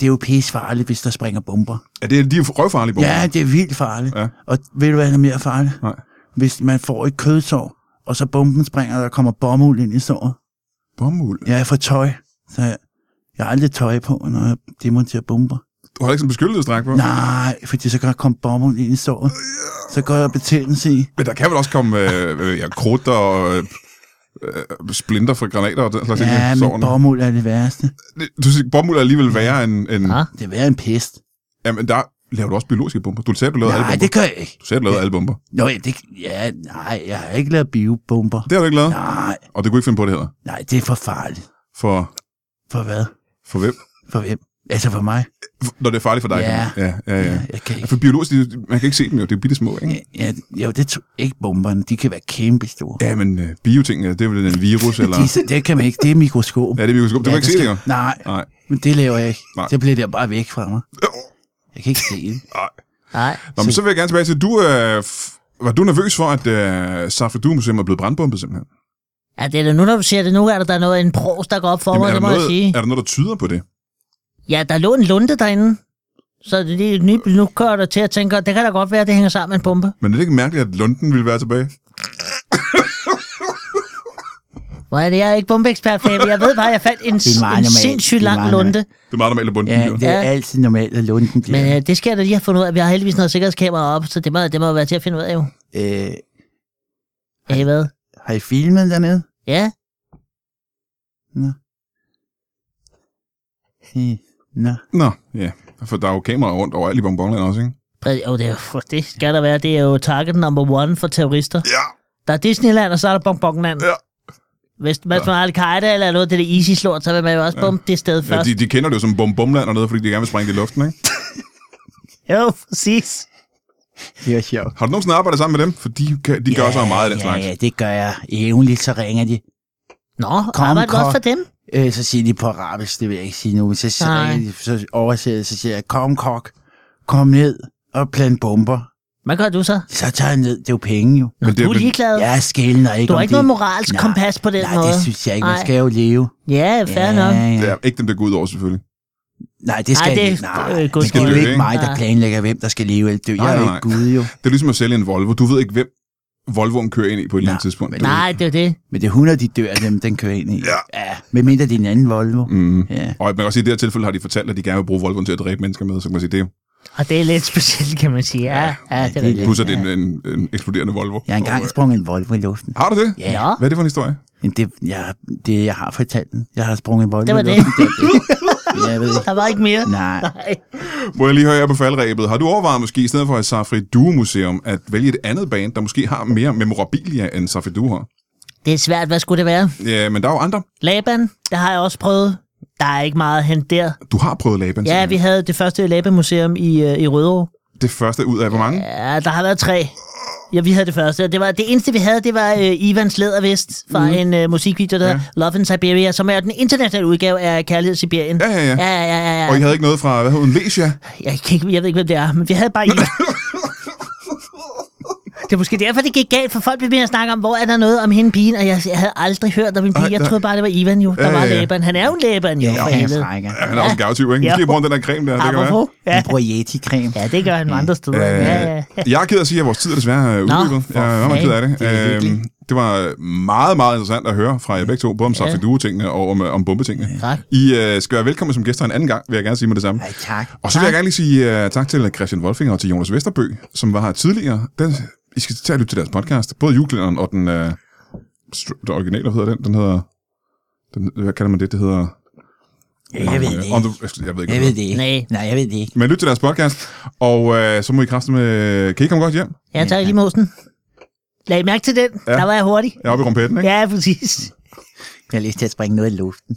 Speaker 3: det er jo pissefarligt, hvis der springer bomber.
Speaker 1: Er det de er røvfarlige bomber?
Speaker 3: Ja, det er vildt farligt.
Speaker 1: Ja.
Speaker 3: Ja. Og ved du, hvad der er mere farligt?
Speaker 1: Nej.
Speaker 3: Hvis man får et kødsår, og så bomben springer, og der kommer bomuld ind i såret.
Speaker 1: Bomuld.
Speaker 3: Jeg er fra tøj, så jeg, jeg har aldrig tøj på, når jeg demonterer bomber.
Speaker 1: Du har ikke sådan en beskyttelsesdragt på?
Speaker 3: Nej, fordi så kan der komme bomuld ind i såret. Så går jeg betændelse i.
Speaker 1: Men der kan vel også komme øh, øh, ja, krudt og øh, øh, splinter fra granater og den slags ting.
Speaker 3: Ja,
Speaker 1: i
Speaker 3: men
Speaker 1: sårene.
Speaker 3: bomuld er det værste.
Speaker 1: Det- Du siger, bomuld er alligevel værre end... end
Speaker 2: Ja.
Speaker 3: Det er værre en pest.
Speaker 1: jamen, der laver du også biologiske bomber. Du sagde, du lavede alle
Speaker 3: Nej,
Speaker 1: bomber.
Speaker 3: det gør jeg ikke.
Speaker 1: Du sagde, du lavede alle bomber.
Speaker 3: Nå, ja, det, ja, nej, jeg har ikke lavet biobomber.
Speaker 1: Det har du ikke lavet,
Speaker 3: Nej,
Speaker 1: og det kunne ikke finde på det heller.
Speaker 3: nej, det er for farligt.
Speaker 1: For,
Speaker 3: For hvad?
Speaker 1: for hvem?
Speaker 3: For hvem? Altså for mig?
Speaker 1: Når det er farligt for dig.
Speaker 3: Ja.
Speaker 1: kan man- Ja, ja, ja.
Speaker 3: Jeg
Speaker 1: ja.
Speaker 3: kan ikke.
Speaker 1: For biologisk, de- man kan ikke se dem jo, det er bitte små, ikke?
Speaker 3: Ja, ja, jo, det tror ikke bomberne. De kan være kæmpe store.
Speaker 1: Ja, men øh, bioting, det er vel en virus, eller...
Speaker 3: De, det kan man ikke. Det er mikroskop.
Speaker 1: Ja, det er mikroskop. Det kan
Speaker 3: Ja,
Speaker 1: man ikke se
Speaker 3: skal-
Speaker 1: længere.
Speaker 3: Nej,
Speaker 1: Nej.
Speaker 3: men det laver jeg ikke.
Speaker 1: Nej.
Speaker 3: Nej. Det bliver der bare væk fra mig. Jeg kan ikke se
Speaker 1: *laughs*
Speaker 3: det.
Speaker 2: Nej.
Speaker 1: Nå, men så vil jeg gerne tilbage til, du øh, f- var du nervøs for, at øh, Safra Due Museum er blevet brandbombet simpelthen?
Speaker 2: Ja, det er da nu, når du siger det. Nu er der, der noget, en pros, der går op for mig,
Speaker 1: er,
Speaker 2: det
Speaker 1: der
Speaker 2: må jeg sige.
Speaker 1: noget, er der noget, der tyder på det?
Speaker 2: Ja, der lå en lunde derinde. Så det er lige et nyt, nu kører der til at tænke, det kan da godt være, at det hænger sammen med en bombe.
Speaker 1: Men er det ikke mærkeligt, at Lunden ville være tilbage?
Speaker 2: Hvor er det, jeg er ikke bombeekspert, for jeg ved bare, at jeg fandt en,
Speaker 3: er meget
Speaker 2: en
Speaker 3: normalt.
Speaker 2: sindssygt
Speaker 3: Det er
Speaker 2: lang
Speaker 3: meget
Speaker 2: lunde.
Speaker 1: Det er meget normalt at bunde
Speaker 3: Ja,
Speaker 1: ja,
Speaker 3: det er
Speaker 2: Ja.
Speaker 3: altid normalt at låne den.
Speaker 2: Men
Speaker 3: Men,
Speaker 2: øh, det skal jeg da lige have fundet ud af. Vi har heldigvis noget sikkerhedskamera op, så det må, det må være til at finde ud af jo.
Speaker 3: øh,
Speaker 2: Ja, I hvad?
Speaker 3: har I filmet dernede?
Speaker 2: Ja,
Speaker 3: Øh, Nå.
Speaker 1: Nå, ja. For der er jo kameraer rundt overalt i bonbonland også, ikke?
Speaker 2: præ- jo, det, er, jo- det skal der være. Det er jo target number one for terrorister.
Speaker 1: Ja.
Speaker 2: Der er Disneyland, og så er der Bongbongland.
Speaker 1: Ja.
Speaker 2: Hvis man ja. al-Qaida eller noget, det er ISIS-lort, så vil man jo også bombe det sted
Speaker 1: ja
Speaker 2: først.
Speaker 1: de, de kender det jo som bombomland og noget, fordi de gerne vil sprænge det i luften, ikke?
Speaker 2: Jo, præcis.
Speaker 3: Det er sjovt.
Speaker 1: Har du nogensinde arbejdet sammen med dem? For de, kan, de gør også meget af den
Speaker 3: ja,
Speaker 1: slags.
Speaker 3: Ja, det gør jeg. Jævnligt så ringer de.
Speaker 2: Nå, arbejder du
Speaker 3: kom.
Speaker 2: også for dem?
Speaker 3: Øh, så siger de på arabisk, det vil jeg ikke sige nu, men så, så,
Speaker 2: Nej.
Speaker 3: ringer de, så oversætter jeg, så siger jeg, kom kok, kom ned og plant bomber.
Speaker 2: Hvad gør du så?
Speaker 3: Så tager jeg ned, det er jo penge jo.
Speaker 2: Nå,
Speaker 1: Men det-
Speaker 2: du er ligeglad.
Speaker 3: Jeg er skældner ikke
Speaker 2: Du har
Speaker 3: om
Speaker 2: ikke
Speaker 3: det.
Speaker 2: noget moralsk
Speaker 3: Nej,
Speaker 2: kompas på den
Speaker 3: Nej,
Speaker 2: måde.
Speaker 3: det synes jeg ikke, man
Speaker 2: Nej.
Speaker 3: skal jo leve.
Speaker 2: Ja, fair nok.
Speaker 1: Det er ikke dem, der går ud over, selvfølgelig.
Speaker 3: Nej, det skal
Speaker 2: Ej, det er,
Speaker 3: ikke. Nej,
Speaker 2: øh,
Speaker 3: det,
Speaker 2: Gud
Speaker 3: det er
Speaker 1: skal
Speaker 3: jo
Speaker 1: det,
Speaker 3: ikke
Speaker 1: ikke?
Speaker 3: mig, der
Speaker 2: Nej.
Speaker 3: planlægger, hvem der skal leve eller dø.
Speaker 1: Nej,
Speaker 3: Jeg er jo
Speaker 1: nej,
Speaker 3: ikke Gud jo.
Speaker 1: Det er ligesom at sælge en Volvo. Du ved ikke, hvem Volvoen kører ind i på et eller andet
Speaker 3: Nej,
Speaker 1: tidspunkt.
Speaker 3: men-
Speaker 1: Du ved
Speaker 2: Nej, det er jo det.
Speaker 3: Men det er 100, de dør af dem, den kører ind i.
Speaker 1: Ja.
Speaker 3: ja med mindre det er en anden Volvo.
Speaker 1: ikke. Mm.
Speaker 3: Ja.
Speaker 1: Og man kan også sige, at i det her tilfælde har de fortalt, at de gerne vil bruge Volvoen til at dræbe mennesker med, så kan man sige, det er
Speaker 2: Og det er lidt specielt, kan man sige. Ja, ja det er
Speaker 3: det er
Speaker 2: det.
Speaker 1: plus, at det er en, en, en eksploderende Volvo.
Speaker 3: Jeg har
Speaker 1: Og,
Speaker 3: engang
Speaker 1: øh,
Speaker 3: sprunget en Volvo i luften.
Speaker 1: Har du det?
Speaker 3: Ja,
Speaker 2: Nå,
Speaker 1: Hvad er det for en historie?
Speaker 3: men det, jeg, det, jeg har fortalt den. Jeg har sprunget en Volvo
Speaker 2: Det var
Speaker 3: i
Speaker 2: det.
Speaker 3: luften. det. Jeg ved ikke.
Speaker 2: der var ikke mere.
Speaker 3: Nej.
Speaker 2: Nej.
Speaker 1: Må jeg lige høre jer på faldrebet. Har du overvejet måske, i stedet for et Safri Due Museum, at vælge et andet band, der måske har mere memorabilia end Safri Due har?
Speaker 2: Det er svært. Hvad skulle det være?
Speaker 1: Ja, men der er jo andre.
Speaker 2: Laban, det har jeg også prøvet. Der er ikke meget at hente der.
Speaker 1: Du har prøvet Laban.
Speaker 2: Ja, vi
Speaker 1: simpelthen.
Speaker 2: havde det første Laban-museum i, øh, i Rødovre.
Speaker 1: Det første ud af hvor mange?
Speaker 2: Ja, der har været tre. Ja, vi havde det første. og Det, var, det eneste, vi havde, det var øh, Ivans Lædervest fra mm. en øh, musikvideo, der ja. hedder Love in Siberia, som er den internationale udgave af Kærlighed i Sibirien.
Speaker 1: Ja, ja, ja.
Speaker 2: Ja, ja, ja, ja.
Speaker 1: Og I
Speaker 2: ja.
Speaker 1: havde ikke noget fra, hvad hed hun, Lesia?
Speaker 2: Jeg, kan ikke, jeg ved ikke, hvem det er, men vi havde bare Ivan. Det er måske derfor, det gik galt, for folk blev ved med at snakke om, hvor er der noget om hende pigen, og jeg, jeg havde aldrig hørt om en pige.
Speaker 1: Ej,
Speaker 2: Jeg
Speaker 1: der-
Speaker 2: troede bare, det var Ivan jo, der
Speaker 1: Ja,
Speaker 2: var
Speaker 1: ja, ja.
Speaker 2: læberen. Han er jo læberen jo, for
Speaker 3: Jeg er
Speaker 2: helvede.
Speaker 3: frækker.
Speaker 1: Ja, han er også en gavtyv, ikke?
Speaker 2: Ja.
Speaker 1: Måske bruger den der creme der, det kan være.
Speaker 2: Apropos. Ja.
Speaker 3: Jeg bruger Yeti-creme.
Speaker 2: ja, det gør han andre steder.
Speaker 1: Øh,
Speaker 2: Ja, ja.
Speaker 1: Jeg er ked af at sige, at vores tid er desværre øh,
Speaker 2: Nå,
Speaker 1: udløbet.
Speaker 2: for
Speaker 1: Jeg er meget ked af det.
Speaker 3: fanden. Det er
Speaker 1: Øhm, Det var meget, meget interessant at høre fra jer begge to, både om Safri Due-tingene og om, øh, om bombetingene.
Speaker 2: Tak.
Speaker 1: I øh, skal være velkommen som gæster en anden gang, vil jeg gerne sige med det samme.
Speaker 3: Ej, tak.
Speaker 1: Og så vil jeg gerne lige sige uh, tak til Christian Wolfinger og til Jonas Vesterbø, som var her tidligere. Den, I skal tage og lytte til deres podcast. Både julekalenderen og den, uh, den originale, hvad hedder den? Den hedder... Den, hvad kalder man det? Det hedder...
Speaker 3: Jeg ved det
Speaker 1: On
Speaker 3: ikke.
Speaker 1: the, jeg ved ikke.
Speaker 3: Jeg ved det ikke.
Speaker 2: Nej.
Speaker 3: Nej, jeg ved det ikke.
Speaker 1: Men lyt til deres podcast, og uh, så må I kræfte med... Kan I komme godt hjem?
Speaker 2: Ja, tak lige mosen. Lag mærke til den.
Speaker 1: Ja.
Speaker 2: Der var jeg hurtig.
Speaker 1: Jeg er oppe i rumpetten, ikke?
Speaker 2: Ja, præcis.
Speaker 3: Jeg har lyst til at springe noget i luften.